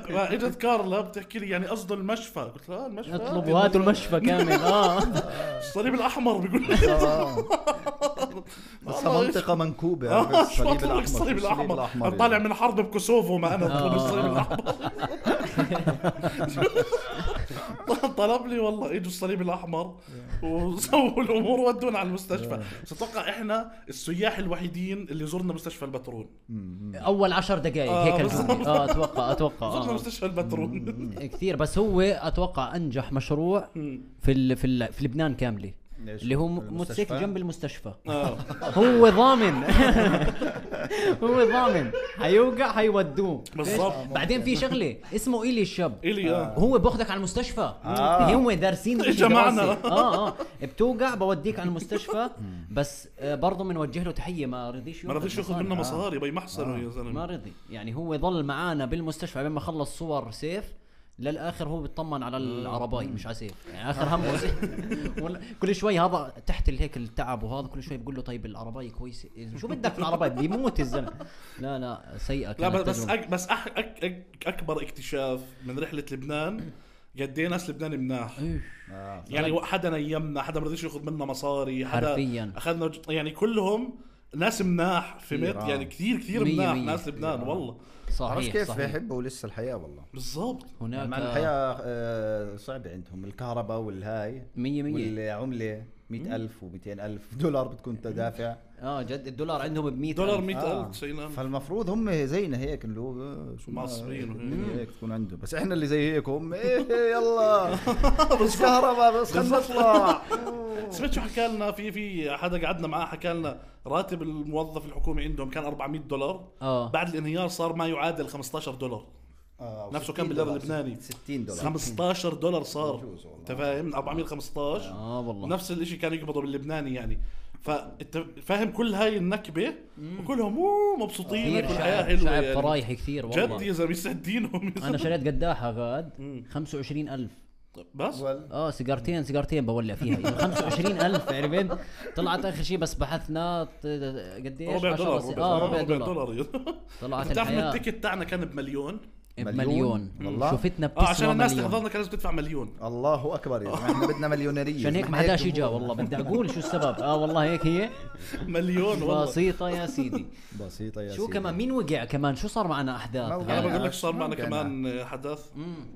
Speaker 1: اجت كارلا بتحكي لي يعني قصده المشفى قلت لها آه المشفى
Speaker 2: اطلب وهاتوا المشفى كامل اه
Speaker 1: الصليب الاحمر بيقول لي
Speaker 3: آه.
Speaker 1: [laughs]
Speaker 3: بس
Speaker 1: والله إيش-
Speaker 3: منطقه منكوبه
Speaker 1: [laughs] آه،
Speaker 3: بس
Speaker 1: شو اطلب لك الصليب الاحمر انا
Speaker 3: يعني.
Speaker 1: طالع من حرب بكوسوفو ما انا
Speaker 2: آه.
Speaker 1: اطلب الصليب
Speaker 2: [laughs]
Speaker 1: الاحمر طلب لي والله اجوا الصليب الاحمر وسووا الامور ودونا على المستشفى بس اتوقع احنا السياح الوحيدين اللي زرنا مستشفى البترول
Speaker 2: اول عشر دقائق
Speaker 1: آه،
Speaker 2: هيك
Speaker 1: بالضبط.
Speaker 2: الجملة. اه اتوقع اتوقع
Speaker 1: زرنا
Speaker 2: آه.
Speaker 1: مستشفى البترول
Speaker 2: كثير بس هو اتوقع انجح مشروع في ال... في ال... في لبنان كامله
Speaker 3: ليش؟
Speaker 2: اللي هو
Speaker 3: المستشفى؟
Speaker 2: موتوسيكل جنب المستشفى
Speaker 1: [laughs] آه.
Speaker 2: هو ضامن [laughs] هو ضامن حيوقع حيودوه
Speaker 1: بالضبط.
Speaker 2: ليش؟ بعدين في شغله اسمه إيلي الشاب
Speaker 1: الي اه
Speaker 2: هو باخذك على المستشفى
Speaker 3: آه.
Speaker 2: هم
Speaker 1: [laughs]
Speaker 2: دارسين إشي
Speaker 1: إجا معنا.
Speaker 2: دراسي. اه اه بتوقع بوديك على
Speaker 1: [laughs]
Speaker 2: المستشفى بس آه، برضه بنوجه له تحيه ما رضيش
Speaker 1: ما رضيش ياخذ
Speaker 2: مصاري.
Speaker 1: منا مصاري بي محسنه يا
Speaker 2: آه. ما
Speaker 1: زلمه
Speaker 2: رضي يعني هو ضل معانا بالمستشفى لما خلص صور سيف للاخر هو بيطمن
Speaker 1: آه.
Speaker 2: على العرباي مش على سيف يعني اخر همه سيف [laughs] ولا- كل شوي هذا تحت ال- هيك التعب وهذا كل شوي بقول له طيب العرباي كويسه إيه، شو بدك في العرباي بيموت الزلمه لا لا سيئه
Speaker 1: لا
Speaker 2: كانت
Speaker 1: بس بس
Speaker 2: تجربة.
Speaker 1: أك بس أح أك أك اكبر اكتشاف من رحله لبنان قد ايه ناس لبنان مناح
Speaker 3: آه.
Speaker 1: يعني حدا نيمنا حدا ما رضيش ياخذ منا مصاري حدا
Speaker 2: حرفياً.
Speaker 1: اخذنا وج- يعني كلهم ناس مناح فهمت
Speaker 3: كثير، آه.
Speaker 1: يعني كثير كثير
Speaker 2: مية
Speaker 1: مناح
Speaker 2: مية. آه.
Speaker 1: ناس لبنان والله
Speaker 3: عرفت
Speaker 2: صحيح
Speaker 3: كيف
Speaker 2: صحيح
Speaker 3: بيحبوا لسه الحياه والله
Speaker 1: بالضبط
Speaker 2: هناك
Speaker 3: مع الحياه آه، صعبه عندهم الكهرباء والهاي
Speaker 2: مية مية.
Speaker 3: والعمله 100000 و200000 دولار بتكون تدافع
Speaker 2: اه جد الدولار عندهم ب 100
Speaker 1: دولار 100000
Speaker 3: آه.
Speaker 1: تسعين
Speaker 3: فالمفروض هم زينا هيك اللي هو آه، شو ما-
Speaker 1: معصبين وهيك.
Speaker 3: الدنيا هيك تكون عندهم بس احنا اللي زي هيك هم ايه يلا بس كهرباء بس خلينا نطلع
Speaker 1: سمعت شو حكى لنا في في حدا قعدنا معاه حكى لنا راتب الموظف الحكومي عندهم كان 400 دولار
Speaker 2: آه.
Speaker 1: بعد الانهيار صار ما يعادل 15 دولار
Speaker 3: آه،
Speaker 1: نفسه
Speaker 3: 60
Speaker 1: كان بالليره
Speaker 3: دولار،
Speaker 1: اللبناني
Speaker 3: 60 دولار
Speaker 1: 15 دولار صار
Speaker 3: بجوز والله.
Speaker 1: انت فاهم من 415
Speaker 2: آه والله.
Speaker 1: نفس الشيء كان يقبضوا باللبناني يعني فانت فاهم كل هاي النكبه وكلهم أوه مبسوطين
Speaker 2: كثير
Speaker 1: كل حياه
Speaker 2: شعب
Speaker 1: حلوه
Speaker 2: شعب
Speaker 1: يعني
Speaker 2: فرايح كثير
Speaker 1: جد
Speaker 2: والله
Speaker 1: يا زلمه يسعد دينهم يا
Speaker 2: انا
Speaker 1: زلمة.
Speaker 2: شريت قداحه غاد 25000
Speaker 1: بس
Speaker 2: اه سيجارتين سيجارتين بولع فيها يعني
Speaker 1: [laughs]
Speaker 2: 25000 عرفت طلعت اخر شيء بس بحثنا ط- قديش
Speaker 1: ربع
Speaker 2: 10
Speaker 1: دولار
Speaker 2: بس- اه ربع دولار
Speaker 1: دولار
Speaker 2: طلعت
Speaker 1: بتعرف إنه
Speaker 2: الحياه
Speaker 1: التيكت تاعنا كان بمليون
Speaker 2: بمليون
Speaker 3: والله.
Speaker 2: شفتنا
Speaker 1: اه عشان
Speaker 2: بتسوى
Speaker 1: الناس اللي
Speaker 2: مليون
Speaker 1: حضرنا كان لازم تدفع مليون
Speaker 3: الله اكبر يا زلمه
Speaker 2: [laughs]
Speaker 3: احنا بدنا مليونيريه
Speaker 2: عشان هيك
Speaker 3: إحنا
Speaker 2: ما حداش
Speaker 3: جمهور.
Speaker 2: اجا والله بدي اقول شو السبب اه والله هيك هي
Speaker 1: مليون [laughs] والله
Speaker 2: بسيطه يا
Speaker 1: [laughs]
Speaker 2: سيدي
Speaker 3: بسيطه يا
Speaker 2: شو
Speaker 3: سيدي.
Speaker 2: كمان مين وقع كمان شو صار معنا آه،
Speaker 3: ما
Speaker 2: احداث
Speaker 3: وقع.
Speaker 1: انا
Speaker 2: هاي؟
Speaker 1: بقول لك شو صار معنا
Speaker 3: ممكن.
Speaker 1: كمان حدث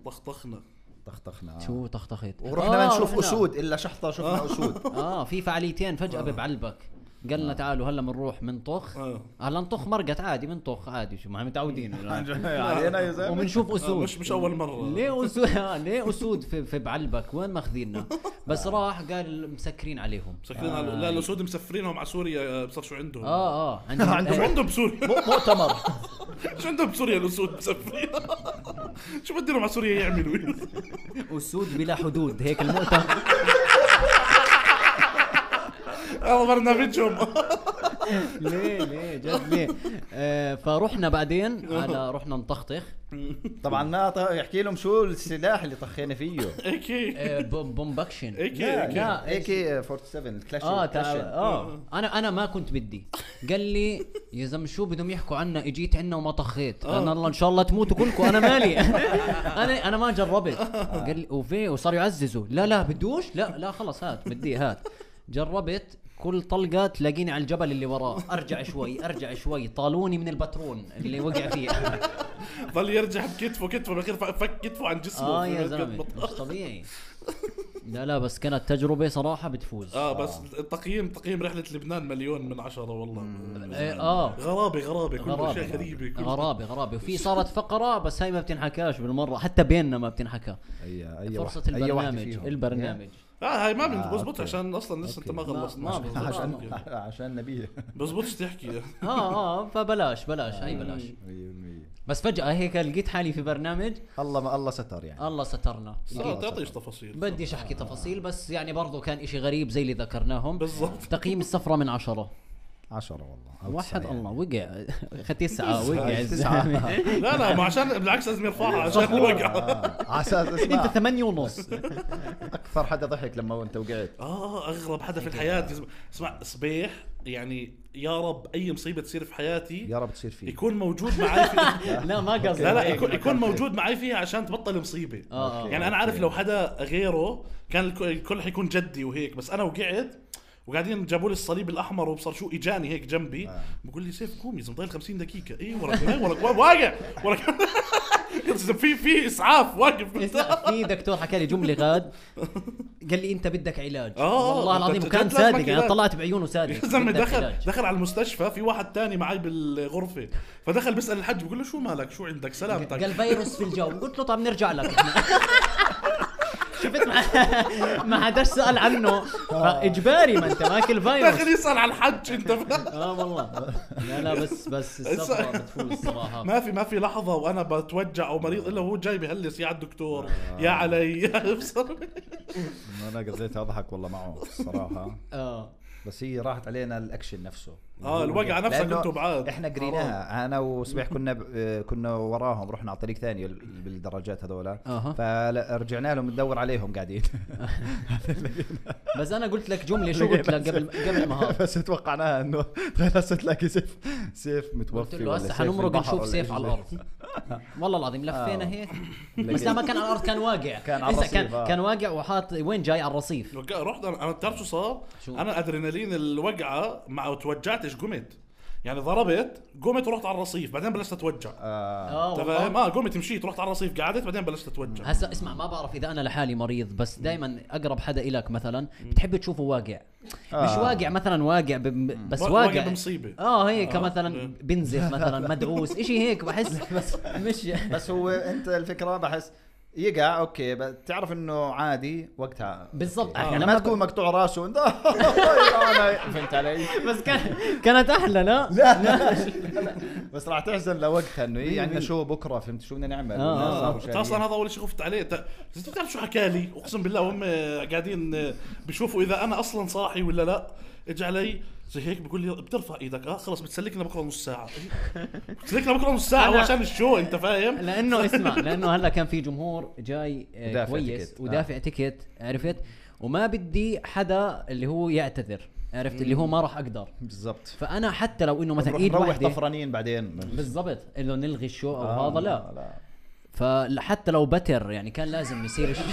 Speaker 1: طخطخنا
Speaker 3: طخطخنا
Speaker 2: شو طخطخت
Speaker 3: ورحنا
Speaker 2: آه،
Speaker 3: ما نشوف
Speaker 2: رحنا. [laughs] آه،
Speaker 3: اسود الا شحطه شفنا اسود
Speaker 2: اه في فعاليتين فجاه ببعلبك قال لنا تعالوا هلا بنروح بنطخ
Speaker 1: آه.
Speaker 2: هلا نطخ مرقت عادي بنطخ عادي شو ما
Speaker 1: [laughs]
Speaker 2: متعودين [laughs]
Speaker 3: علينا يا زلمه
Speaker 2: وبنشوف اسود
Speaker 1: آه، مش مش اول مره
Speaker 2: ليه اسود [laughs] آه، ليه اسود في, في بعلبك وين
Speaker 1: [laughs]
Speaker 2: ماخذيننا بس راح قال مسكرين عليهم
Speaker 1: مسكرين على
Speaker 2: آه.
Speaker 1: لا الاسود مسفرينهم على سوريا آه، بصر شو عندهم
Speaker 2: اه اه عندهم
Speaker 1: شو
Speaker 2: [laughs] عندهم
Speaker 1: [laughs] عندهم بسوريا
Speaker 4: مؤتمر
Speaker 1: شو عندهم بسوريا الاسود مسفرين [laughs] شو بدهم على سوريا يعملوا [laughs]
Speaker 2: اسود بلا حدود هيك المؤتمر
Speaker 1: هذا [laughs] برنامجهم
Speaker 2: [laughs] ليه ليه جد [laughs] ليه آه فرحنا
Speaker 1: [laughs]
Speaker 2: بعدين
Speaker 1: آه.
Speaker 2: على رحنا نطخطخ
Speaker 3: طبعا ما ط- يحكي لهم شو السلاح اللي طخينا
Speaker 2: [laughs]
Speaker 3: فيه إيه،
Speaker 1: هيك هيك
Speaker 2: آه بوم- بومبكشن
Speaker 1: هيك
Speaker 3: لا
Speaker 1: هيك.
Speaker 3: لا اي كي 47 الكلاش
Speaker 2: اه
Speaker 3: الكلاش.
Speaker 2: تعال اه انا انا ما كنت بدي قال لي يا زلمه شو بدهم يحكوا عنا اجيت عنا وما طخيت انا الله ان شاء الله تموتوا كلكم انا مالي [laughs] انا انا ما جربت قال لي وفي وصار يعززوا لا لا بدوش لا لا خلص هات بدي هات جربت كل طلقه تلاقيني على الجبل اللي وراه ارجع شوي ارجع شوي طالوني من البترون اللي وقع فيه
Speaker 1: ضل يرجع بكتفه كتفه بالاخير ف- فك كتفه عن جسمه
Speaker 2: اه يا
Speaker 1: في-
Speaker 2: زلمه مش طبيعي لا لا بس كانت تجربه صراحه بتفوز
Speaker 1: اه بس التقييم تقييم رحله لبنان مليون من عشرة والله
Speaker 2: إيه، اه
Speaker 1: غرابه غرابه كل
Speaker 2: غرابة.
Speaker 1: اشياء غريبه كل
Speaker 2: غرابه غرابه وفي
Speaker 1: [laughs]
Speaker 2: صارت فقره بس هاي ما بتنحكاش بالمره حتى بيننا ما بتنحكى
Speaker 3: اي اي
Speaker 2: فرصه
Speaker 3: واحد- أي واحد
Speaker 2: البرنامج
Speaker 3: فيهم.
Speaker 2: البرنامج
Speaker 1: اه هاي ما
Speaker 3: آه،
Speaker 1: بزبط
Speaker 3: أوكي.
Speaker 1: عشان اصلا لسه انت ما
Speaker 2: ما-
Speaker 1: خلصت
Speaker 2: ما بزبط.
Speaker 1: عشان
Speaker 3: [laughs] عشان عشان
Speaker 2: آه.
Speaker 3: نبيه
Speaker 1: بزبطش تحكي
Speaker 2: اه اه فبلاش بلاش هاي
Speaker 3: آه.
Speaker 2: بلاش
Speaker 3: 100%
Speaker 2: بس فجاه هيك لقيت حالي في برنامج
Speaker 3: [laughs] الله ما الله ستر يعني
Speaker 2: الله سترنا
Speaker 1: صار تعطيش تفاصيل
Speaker 2: بديش احكي تفاصيل بس يعني برضو كان اشي غريب زي اللي ذكرناهم
Speaker 1: بالضبط.
Speaker 2: تقييم السفره من عشرة
Speaker 3: 10 والله أو
Speaker 2: وحد
Speaker 3: تسعة يعني.
Speaker 2: الله آه، وقع [laughs] تسعة وقع
Speaker 3: [laughs] تسعة.
Speaker 2: الزلمه
Speaker 1: لا لا ما عشان بالعكس لازم يرفعها عشان الوقعه
Speaker 3: [laughs] آه،
Speaker 2: [laughs]
Speaker 3: على اساس
Speaker 2: انت
Speaker 3: اسمع
Speaker 2: ثمانية
Speaker 3: [laughs]
Speaker 2: ونص
Speaker 3: اكثر حدا ضحك لما انت وقعت
Speaker 1: اه اغرب حدا في الحياه يسمع- اسمع صبيح يعني يا رب اي مصيبه تصير في حياتي
Speaker 3: يا رب تصير فيه
Speaker 1: يكون موجود معي
Speaker 2: [laughs]
Speaker 1: في
Speaker 2: لا ما قصدي
Speaker 1: لا إيه، لا
Speaker 2: هيك. [laughs]
Speaker 1: يكون, يكون موجود معي فيها عشان تبطل مصيبه
Speaker 2: آه، آه.
Speaker 1: يعني انا عارف لو حدا غيره كان الك- الكل حيكون جدي وهيك بس انا وقعت وقاعدين جابوا لي الصليب الاحمر وبصر شو اجاني هيك جنبي
Speaker 2: آه.
Speaker 1: بقول لي سيف قوم يا زلمه ضايل 50 دقيقه اي ورك إيه ورك وا- واقع ورك [laughs] في في اسعاف واقف
Speaker 2: اسمع في دكتور حكى لي جمله غاد قال لي انت بدك علاج
Speaker 1: آه،
Speaker 2: والله
Speaker 1: أنت
Speaker 2: العظيم
Speaker 1: جد
Speaker 2: وكان
Speaker 1: لازمك
Speaker 2: صادق يعني
Speaker 1: علاج.
Speaker 2: طلعت بعيونه صادق
Speaker 1: [laughs] يا زلمه
Speaker 2: بدك
Speaker 1: دخل
Speaker 2: علاج.
Speaker 1: دخل على المستشفى في واحد تاني معي بالغرفه فدخل بيسال الحج بقول له شو مالك شو عندك
Speaker 2: قال
Speaker 1: [laughs] سلامتك
Speaker 2: فيروس في الجو قلت له طب نرجع لك إحنا. شفت ما- ما حداش سال عنه فاجباري ما انت ماكل
Speaker 1: داخل
Speaker 2: فيروس
Speaker 1: يسال على الحج انت فاهم
Speaker 2: [laughs] اه والله لا لا بس بس السفره بتفوز صراحه
Speaker 1: ما في ما في لحظه وانا بتوجع او مريض الا وهو جاي بهلس يا على الدكتور
Speaker 2: آه.
Speaker 1: يا علي [laughs] يا ابصر
Speaker 3: انا قضيت اضحك والله معه الصراحه
Speaker 2: اه
Speaker 3: بس هي راحت علينا الاكشن نفسه يعني
Speaker 1: آه، الوقعة نفسها
Speaker 3: لأنه
Speaker 1: كنتوا بعاد.
Speaker 3: احنا قريناها انا وصبيح كنا ب... آه، كنا وراهم رحنا على طريق ثاني ال- بالدرجات هذولا
Speaker 2: أها.
Speaker 3: فرجعنا لهم ندور عليهم قاعدين
Speaker 2: بس انا قلت لك جمله شو قلت لك قبل قبل ما هذا
Speaker 3: [laughs] بس توقعناها [laughs] انه هسه تلاقي سيف سيف متوفي
Speaker 2: قلت له
Speaker 3: ولا
Speaker 2: هسه
Speaker 3: سيف
Speaker 2: حنمرق
Speaker 3: بالبحر
Speaker 2: نشوف
Speaker 3: ولا
Speaker 2: سيف
Speaker 3: إيش
Speaker 2: على
Speaker 3: زي-
Speaker 2: الارض والله العظيم لفينا هيك بس
Speaker 3: لقيت-
Speaker 2: لا ما كان على الارض كان واقع
Speaker 3: كان على
Speaker 2: إذا
Speaker 3: الرصيف،
Speaker 2: كان
Speaker 3: آه.
Speaker 2: كان واقع وحاط وين جاي على الرصيف
Speaker 1: رحت انا انا بتعرف شو صار؟
Speaker 2: شو؟
Speaker 1: انا ادرينالين الوقعه ما توجعتش قمت يعني ضربت قمت ورحت على الرصيف بعدين بلشت اتوجع
Speaker 3: آه،
Speaker 2: اه
Speaker 1: انت
Speaker 2: والله.
Speaker 1: فاهم؟ اه قمت مشيت رحت على الرصيف قعدت بعدين بلشت اتوجع
Speaker 2: هسا اسمع ما بعرف اذا انا لحالي مريض بس دائما اقرب حدا الك مثلا بتحب تشوفه واقع مش
Speaker 3: آه.
Speaker 2: واقع مثلا واقع بم- بس
Speaker 1: وا-
Speaker 2: واقع,
Speaker 1: واقع بمصيبة.
Speaker 2: اه هيك
Speaker 1: آه.
Speaker 2: مثلا بنزف
Speaker 3: [laughs]
Speaker 2: مثلا مدعوس اشي هيك بحس بس مش [laughs]
Speaker 3: بس هو انت الفكره بحس يقع اوكي بتعرف انه عادي وقتها
Speaker 2: بالضبط.
Speaker 3: أوكي. يعني
Speaker 2: إحنا
Speaker 3: ما
Speaker 2: لما
Speaker 3: تكون مقطوع راسه انت [laughs] أنا فهمت علي
Speaker 2: بس كان كانت احلى لا [laughs]
Speaker 3: لا بس راح تحزن لوقتها انه ايه عندنا شو بكره فهمت شو بدنا نعمل
Speaker 2: إيه. آه.
Speaker 3: والناس صاروا
Speaker 1: انت اصلا
Speaker 3: شايلين.
Speaker 1: هذا اول شيء خفت عليه انت أنت بتعرف شو حكى لي اقسم بالله هم آه، قاعدين بيشوفوا اذا انا اصلا صاحي ولا لا اجى علي زي هيك بقول لي بترفع ايدك اه خلص بتسلكنا بكره نص طيب. ساعه بتسلكنا بكره نص ساعه
Speaker 2: أنا-
Speaker 1: وعشان الشو انت فاهم
Speaker 2: لانه اسمع لانه هلا كان في جمهور جاي آه،
Speaker 3: ودافع
Speaker 2: كويس
Speaker 3: تيكت. آه.
Speaker 2: ودافع تيكت عرفت وما بدي حدا اللي هو يعتذر عرفت اللي هو ما راح اقدر
Speaker 3: بالضبط
Speaker 2: فانا حتى لو انه مثلا
Speaker 3: مثلا
Speaker 2: ايد
Speaker 3: نروح
Speaker 2: واحده
Speaker 3: طفرانين بعدين
Speaker 2: بالضبط انه نلغي الشو او
Speaker 3: آه،
Speaker 2: هذا لا فحتى لو بتر يعني كان لازم يصير شيء.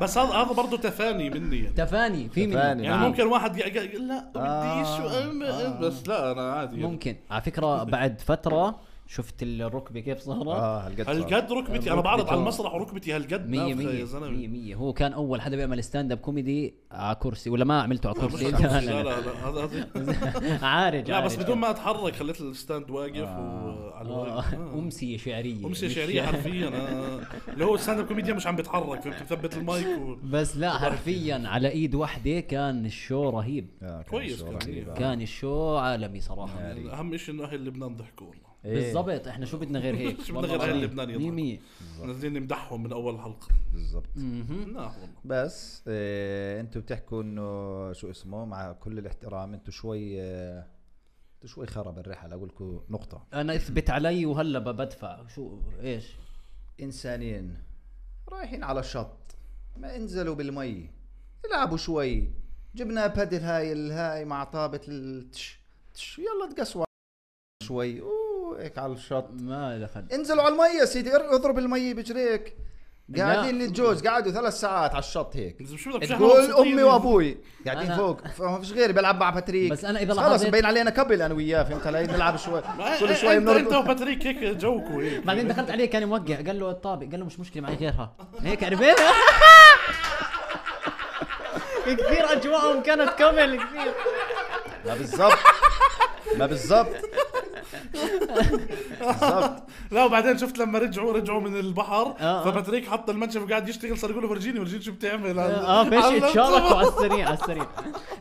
Speaker 1: بس هذا هذا برضه تفاني مني يعني
Speaker 2: [laughs] تفاني في مني
Speaker 3: تفاني.
Speaker 1: يعني
Speaker 3: نعم.
Speaker 1: ممكن واحد يق- يقول لا
Speaker 3: آه،
Speaker 2: آه،
Speaker 1: بديش وأم- بس لا انا عادي يعني.
Speaker 2: ممكن على فكره بعد فتره شفت الركبه كيف صارت؟
Speaker 3: اه هالقد صار.
Speaker 1: هالقد ركبتي انا بعرض على المسرح وركبتي هالقد
Speaker 2: مية
Speaker 1: نافذة
Speaker 2: مية
Speaker 1: يا
Speaker 2: مية
Speaker 1: زلمه
Speaker 2: مية هو كان أول حدا بيعمل ستاند اب كوميدي على كرسي ولا ما عملته على
Speaker 1: مش
Speaker 2: كرسي
Speaker 1: عارف. لا
Speaker 2: لا لا لا
Speaker 1: لا لا هذا-
Speaker 2: [laughs]
Speaker 1: هذا-
Speaker 2: عارج
Speaker 1: لا بس
Speaker 2: عارج.
Speaker 1: بدون ما اتحرك خليت الستاند واقف
Speaker 3: آه.
Speaker 1: وعلى
Speaker 2: آه،
Speaker 1: الواقف آه.
Speaker 2: أمسية شعرية
Speaker 1: امسيه
Speaker 2: مش-
Speaker 1: شعريه حرفيا آه. اللي هو ستاند اب كوميديا مش عم بيتحرك فهمت مثبت المايك و...
Speaker 2: بس لا حرفيا على ايد واحدة كان الشو رهيب
Speaker 3: آه، كان
Speaker 1: كويس
Speaker 3: شعور
Speaker 1: كان.
Speaker 3: رهيب، آه.
Speaker 2: كان الشو عالمي صراحة
Speaker 1: يعني اهم شيء انه اهل لبنان ضحكوا والله
Speaker 3: إيه،
Speaker 2: بالضبط احنا شو بدنا غير هيك
Speaker 1: [laughs] شو بدنا غير أهل لبنان يضحكوا.
Speaker 2: 100
Speaker 1: نازلين نمدحهم من اول حلقه
Speaker 3: بالضبط
Speaker 1: لا والله
Speaker 3: بس آه انتوا بتحكوا انه شو اسمه مع كل الاحترام انتوا شوي آه انتوا شوي خرب الرحل اقول لكم نقطه
Speaker 2: انا اثبت علي وهلا ب- بدفع شو ايش
Speaker 3: انسانين رايحين على الشط ما انزلوا بالمي العبوا شوي جبنا بادل هاي الهاي مع طابه التش تش يلا تقسوا شوي اوه هيك على الشط
Speaker 2: ما دخل
Speaker 3: انزلوا على المي يا سيدي ار- اضرب المي بجريك قاعدين
Speaker 2: لا.
Speaker 3: للجوز قعدوا ثلاث ساعات على الشط هيك
Speaker 1: إذا شو بدك
Speaker 3: تقول امي وابوي قاعدين
Speaker 2: أنا-
Speaker 3: فوق فما فيش غيري بلعب مع باتريك
Speaker 2: بس أنا إذا
Speaker 3: خلص
Speaker 2: لاحظت-
Speaker 3: مبين علينا كبل انا وياه فهمت علي نلعب شوي
Speaker 1: آه،
Speaker 3: كل شوي
Speaker 1: انت انت
Speaker 3: بنرقص
Speaker 1: وباتريك هيك جوكوا هيك
Speaker 2: بعدين دخلت عليه كان موقع قال له الطابق قال له مش مشكله معي غيرها هيك عرفت [laughs] كثير اجواءهم كانت كمل كثير
Speaker 3: ما بالضبط ما بالضبط بالضبط
Speaker 1: لا وبعدين شفت لما رجعوا رجعوا من البحر
Speaker 2: آه.
Speaker 1: فباتريك حط المنشف وقاعد يشتغل صار يقول له فرجيني فرجيني شو بتعمل
Speaker 2: اه فيش تشاركوا على السريع على السريع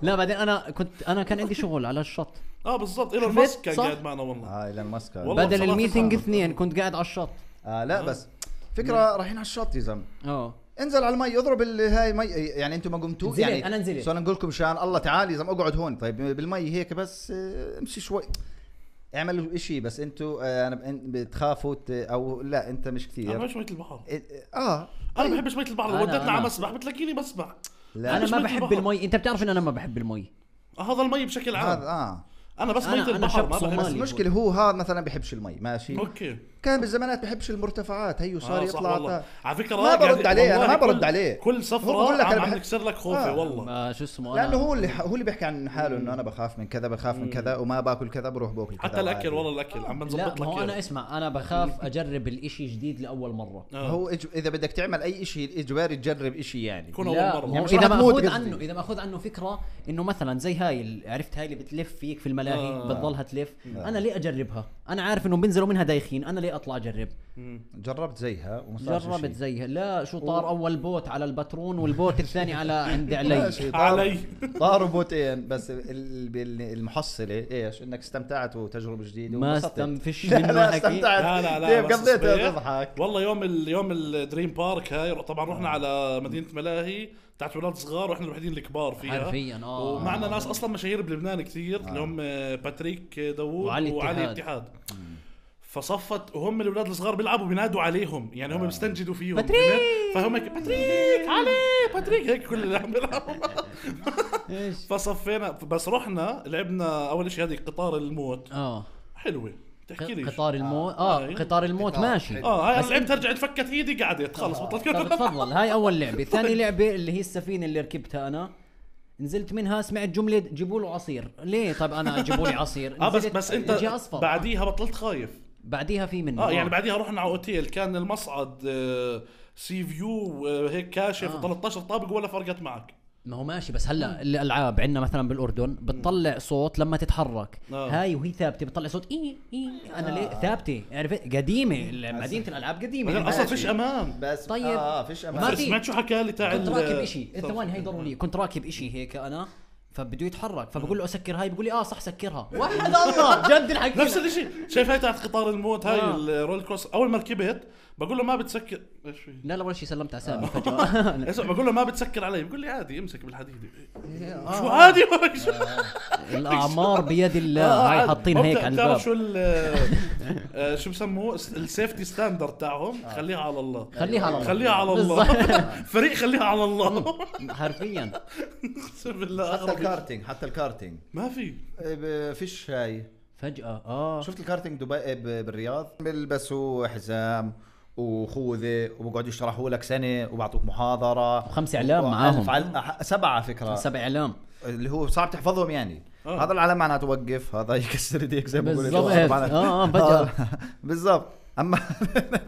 Speaker 2: لا بعدين انا كنت انا كان عندي شغل على الشط
Speaker 1: اه بالضبط ايلون ماسك كان
Speaker 2: صح؟ آه،
Speaker 1: قاعد معنا والله
Speaker 3: هاي ايلون ماسك
Speaker 1: والله.
Speaker 2: بدل
Speaker 1: بصراحة
Speaker 2: الميتنج
Speaker 1: صعب.
Speaker 2: اثنين كنت قاعد على الشط
Speaker 3: آه لا بس
Speaker 2: نعم.
Speaker 3: فكره رايحين على الشط يا زلمه
Speaker 2: اه
Speaker 3: انزل على المي اضرب ال- هاي مي يعني انتم ما قمتوا
Speaker 2: نزلت،
Speaker 3: يعني
Speaker 2: أنا نزلت.
Speaker 3: سو انا نقول لكم مشان الله تعال يا زلمه اقعد هون طيب بالمي هيك بس آه، امشي شوي اعملوا شيء بس انتوا آه، انا ب- بتخافوا ت- او لا انت مش
Speaker 1: انا
Speaker 3: كثير
Speaker 1: ما بحبش مية آه، البحر
Speaker 3: اه
Speaker 1: انا ما بحبش مية البحر
Speaker 2: أنا-
Speaker 1: لو ودتنا
Speaker 2: أنا.
Speaker 1: على مسبح بتلاقيني بسبح
Speaker 3: لا
Speaker 2: انا
Speaker 1: مش
Speaker 2: ما
Speaker 1: مية
Speaker 2: بحب
Speaker 1: البحر.
Speaker 2: المي انت بتعرف ان انا ما بحب المي
Speaker 1: هذا المي بشكل
Speaker 3: هذا
Speaker 1: عام
Speaker 3: اه
Speaker 1: انا بس
Speaker 2: أنا-
Speaker 1: مية
Speaker 2: أنا
Speaker 1: البحر
Speaker 2: شاب
Speaker 1: ما بحب
Speaker 2: صومالي.
Speaker 3: المشكله هو هذا مثلا بيحبش المي ماشي
Speaker 1: اوكي
Speaker 3: كان بالزمانات بيحبش المرتفعات هيو صار
Speaker 1: آه، صح
Speaker 3: يطلع
Speaker 1: والله.
Speaker 3: تا-
Speaker 1: على فكره
Speaker 3: ما
Speaker 1: راجع-
Speaker 3: برد عليه، أنا
Speaker 1: والله
Speaker 3: ما برد
Speaker 1: كل-
Speaker 3: عليه.
Speaker 1: كل
Speaker 3: هو بقول
Speaker 1: سفره
Speaker 3: لك أنا
Speaker 1: عم عم
Speaker 3: بحب-
Speaker 1: نكسر لك خوفي
Speaker 3: آه.
Speaker 1: والله
Speaker 2: ما شو اسمه
Speaker 3: لانه
Speaker 2: انا
Speaker 3: هو اللي هو اللي بيحكي عن حاله انه انا بخاف من كذا بخاف من كذا وما باكل كذا بروح باكل كذا
Speaker 1: حتى
Speaker 3: وعادي.
Speaker 1: الاكل والله الاكل عم
Speaker 2: لا
Speaker 1: بنظبط
Speaker 2: ما هو
Speaker 1: لك
Speaker 2: انا
Speaker 1: إياه.
Speaker 2: اسمع انا بخاف اجرب الاشي جديد لاول مره
Speaker 1: آه.
Speaker 3: هو إج... اذا بدك تعمل اي شيء اجباري تجرب شيء يعني
Speaker 1: يكون اول
Speaker 2: لا ما هو
Speaker 1: مره
Speaker 3: مش رح
Speaker 2: اذا
Speaker 3: تموت
Speaker 2: ماخذ
Speaker 3: قصدي.
Speaker 2: عنه اذا ماخذ عنه فكره انه مثلا زي هاي ال- عرفت هاي اللي بتلف فيك في الملاهي
Speaker 1: آه.
Speaker 2: بتضلها تلف
Speaker 3: نعم.
Speaker 2: انا ليه اجربها انا عارف انه بينزلوا منها دايخين انا ليه اطلع اجرب
Speaker 3: جربت زيها وما صار شي
Speaker 2: جربت
Speaker 3: شي.
Speaker 2: زيها لا شو طار اول بوت على الباترون والبوت الثاني على عند علي
Speaker 3: ماشي، [laughs] طار-
Speaker 1: علي
Speaker 3: طاروا بوتين بس ال- بال- المحصله ايش انك استمتعت وتجربه جديده
Speaker 2: ما
Speaker 3: وانبسطت.
Speaker 2: استنفش
Speaker 3: [laughs] لا،
Speaker 2: منه
Speaker 3: لا
Speaker 2: حكي.
Speaker 3: استمتعت
Speaker 1: لا لا لا
Speaker 3: كيف
Speaker 1: بس
Speaker 3: قضيت
Speaker 1: صبيح.
Speaker 3: تضحك
Speaker 1: والله يوم ال... يوم الدريم بارك هاي طبعا
Speaker 2: آه.
Speaker 1: رحنا على مدينه ملاهي تاعت اولاد صغار واحنا الوحيدين الكبار فيها
Speaker 2: حرفيا اه
Speaker 1: ومعنا ناس اصلا مشاهير بلبنان كثير اللي هم آه، باتريك داوود
Speaker 2: آه. وعلي
Speaker 1: وعلي, وعلي
Speaker 2: اتحاد.
Speaker 1: اتحاد فصفت وهم الاولاد الصغار بيلعبوا بينادوا عليهم يعني هم بيستنجدوا فيهم
Speaker 2: آه. باتريك!
Speaker 1: فهمت؟ فهم هيك باتريك علي باتريك هيك كل اللي عم
Speaker 2: [laughs]
Speaker 1: بيلعبوا
Speaker 2: ايش
Speaker 1: فصفينا بس رحنا لعبنا اول شيء هذه قطار الموت
Speaker 2: اه
Speaker 1: حلوه تحكي لي
Speaker 2: قطار الموت اه
Speaker 1: هاي.
Speaker 2: قطار الموت
Speaker 3: قطار.
Speaker 2: ماشي
Speaker 1: اه هاي انا لعبت رجعت فكت ايدي قعدت خلص بطلت
Speaker 2: آه.
Speaker 1: [laughs]
Speaker 2: طب طيب، تفضل هاي اول لعبه ثاني لعبه اللي هي السفينه اللي ركبتها انا نزلت منها سمعت جمله جيبوا له عصير ليه طب انا جيبوا لي
Speaker 1: [laughs]
Speaker 2: عصير
Speaker 1: اه بس
Speaker 2: نزلت
Speaker 1: بس انت
Speaker 2: جي اصفر
Speaker 1: بعديها بطلت خايف
Speaker 2: بعديها في منه
Speaker 1: اه يعني بعديها رحنا على اوتيل كان المصعد آه، سي فيو آه، هيك كاشف
Speaker 2: آه.
Speaker 1: 13 طابق ولا فرقت معك
Speaker 2: ما هو ماشي بس هلا الالعاب عندنا مثلا بالاردن بتطلع صوت لما تتحرك
Speaker 1: آه.
Speaker 2: هاي وهي ثابته بتطلع صوت اي اي انا ليه ثابته عرفت قديمه مدينه الالعاب
Speaker 1: آه. بعدين
Speaker 2: قديمه
Speaker 1: اصلا
Speaker 3: ماشي.
Speaker 1: فيش امان
Speaker 3: بس
Speaker 2: طيب.
Speaker 3: اه فيش
Speaker 2: ما
Speaker 3: امان
Speaker 2: في-
Speaker 1: سمعت شو حكى لي تاع
Speaker 2: كنت
Speaker 1: ال-
Speaker 2: راكب إيه، شيء
Speaker 1: طب.
Speaker 2: الثواني هاي ضروريه كنت راكب شيء هيك انا فبده يتحرك فبقول له اسكر هاي بقول لي اه صح
Speaker 1: [laughs]
Speaker 2: سكرها وحد الله جد الحكي
Speaker 1: نفس الشيء شايف هاي تاعت قطار الموت هاي
Speaker 2: آه.
Speaker 1: الرول كوست اول ما ركبت بقول له ما بتسكر ايش في
Speaker 2: لا لا ولا شيء سلمت على
Speaker 1: آه. [laughs]
Speaker 2: سامي فجاه
Speaker 1: اسمع بقول له ما بتسكر علي بقول لي عادي امسك بالحديده
Speaker 3: إيه،
Speaker 2: آه.
Speaker 1: شو عادي [laughs] ما شو [laughs]
Speaker 2: الاعمار بيد
Speaker 1: آه،
Speaker 2: الله هاي
Speaker 1: عادي.
Speaker 2: حاطين
Speaker 1: ما
Speaker 2: هيك
Speaker 1: بتعرف-
Speaker 2: على
Speaker 1: بتعرف
Speaker 2: الباب
Speaker 1: شو ال آه، شو بسموه السيفتي ستاندرد تاعهم خليها على الله
Speaker 2: آه. خليها على الله
Speaker 1: خليها على الله [laughs] فريق خليها على الله
Speaker 2: بالظبط. حرفيا
Speaker 1: اقسم بالله
Speaker 3: حتى
Speaker 1: أغرب.
Speaker 3: الكارتينج حتى الكارتينج
Speaker 1: ما في
Speaker 3: آه، ب- فيش هاي
Speaker 2: فجاه اه
Speaker 3: شفت الكارتينج دبي إيه، ب- بالرياض بيلبسوا حزام وخوذه وبقعدوا يشرحوا لك سنه وبعطوك محاضره
Speaker 2: وخمس إعلام
Speaker 3: وألف
Speaker 2: معاهم.
Speaker 3: عل- أح- سبعه فكره
Speaker 2: سبع اعلام
Speaker 3: اللي هو صعب تحفظهم يعني
Speaker 1: آه.
Speaker 3: هذا العالم معناته وقف هذا يكسر ايديك زي ما بقول
Speaker 2: بالضبط.
Speaker 3: هذا معناته-
Speaker 2: آه، آه، فجأة.
Speaker 3: بالضبط اما [laughs]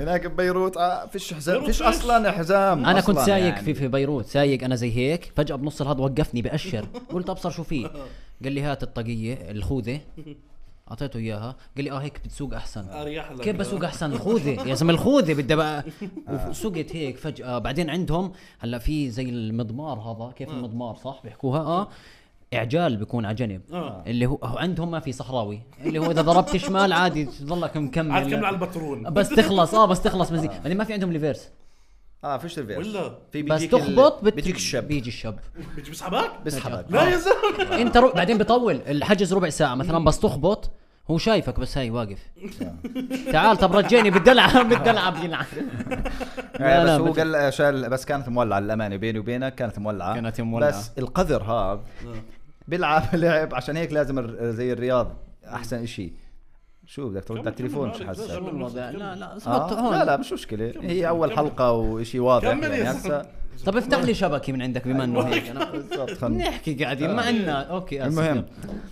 Speaker 3: هناك ببيروت آه، فيش حزام
Speaker 1: بيروت
Speaker 3: فيش
Speaker 1: فيش.
Speaker 3: اصلا حزام
Speaker 2: انا كنت
Speaker 3: أصلاً
Speaker 2: سايق
Speaker 3: يعني.
Speaker 2: في في بيروت سايق انا زي هيك فجاه بنص الهض
Speaker 1: [laughs]
Speaker 2: وقفني باشر قلت ابصر شو فيه قال لي هات الطاقيه الخوذه اعطيته اياها قال لي اه هيك بتسوق احسن
Speaker 1: اريح لك
Speaker 2: كيف بسوق احسن الخوذه يا زلمه الخوذه بدي بقى سقت هيك فجاه بعدين عندهم هلا في زي المضمار هذا
Speaker 1: آه.
Speaker 2: كيف المضمار صح بيحكوها اه اعجال بيكون على جنب
Speaker 1: آه.
Speaker 2: اللي هو هو عندهم ما في صحراوي اللي هو اذا ضربت شمال عادي تضلك مكمل
Speaker 1: عاد كمل على آه. البترون
Speaker 2: بس تخلص اه بس تخلص بنزين بعدين ما في عندهم ليفيرس
Speaker 3: اه فيش ريفيرس
Speaker 1: ولا؟
Speaker 3: في
Speaker 2: بس
Speaker 3: بيجيك ال-
Speaker 2: تخبط بت-
Speaker 3: بيجيك الشاب
Speaker 2: بيجي الشاب
Speaker 1: بيجي بيسحبك
Speaker 3: بيسحبك
Speaker 2: آه.
Speaker 1: لا يا زلمه
Speaker 2: انت رو... بعدين بطول الحجز ربع ساعه مثلا بس تخبط هو شايفك بس هاي واقف تعال طب رجعني بدي العب [laughs] بدي العب
Speaker 3: [laughs]
Speaker 2: يلعب
Speaker 3: آه،
Speaker 2: لا، لا،
Speaker 3: بس هو
Speaker 2: بت-
Speaker 3: قال آه، شال بس كانت مولعه للامانه بيني وبينك كانت مولعه
Speaker 2: كانت مولعة.
Speaker 3: بس القذر هذا بيلعب [laughs] لعب عشان هيك لازم الر- زي الرياض احسن شيء شو بدك ترد على التليفون شو حاسس
Speaker 1: كمل
Speaker 2: الوضع
Speaker 1: نفسك،
Speaker 2: لا لا اصبت
Speaker 3: آه
Speaker 2: هون
Speaker 3: لا لا مش مشكله هي اول
Speaker 1: كمل.
Speaker 3: حلقه وشيء واضح
Speaker 1: كمل يا
Speaker 3: يعني
Speaker 1: زلمة.
Speaker 3: هسه
Speaker 2: طب افتح لي شبكه من عندك بما انه
Speaker 3: [laughs]
Speaker 2: هيك أنا-
Speaker 3: بالضبط خلنا-
Speaker 2: بنحكي قاعدين ما عندنا اوكي آسف.
Speaker 3: آه. المهم
Speaker 2: يلا.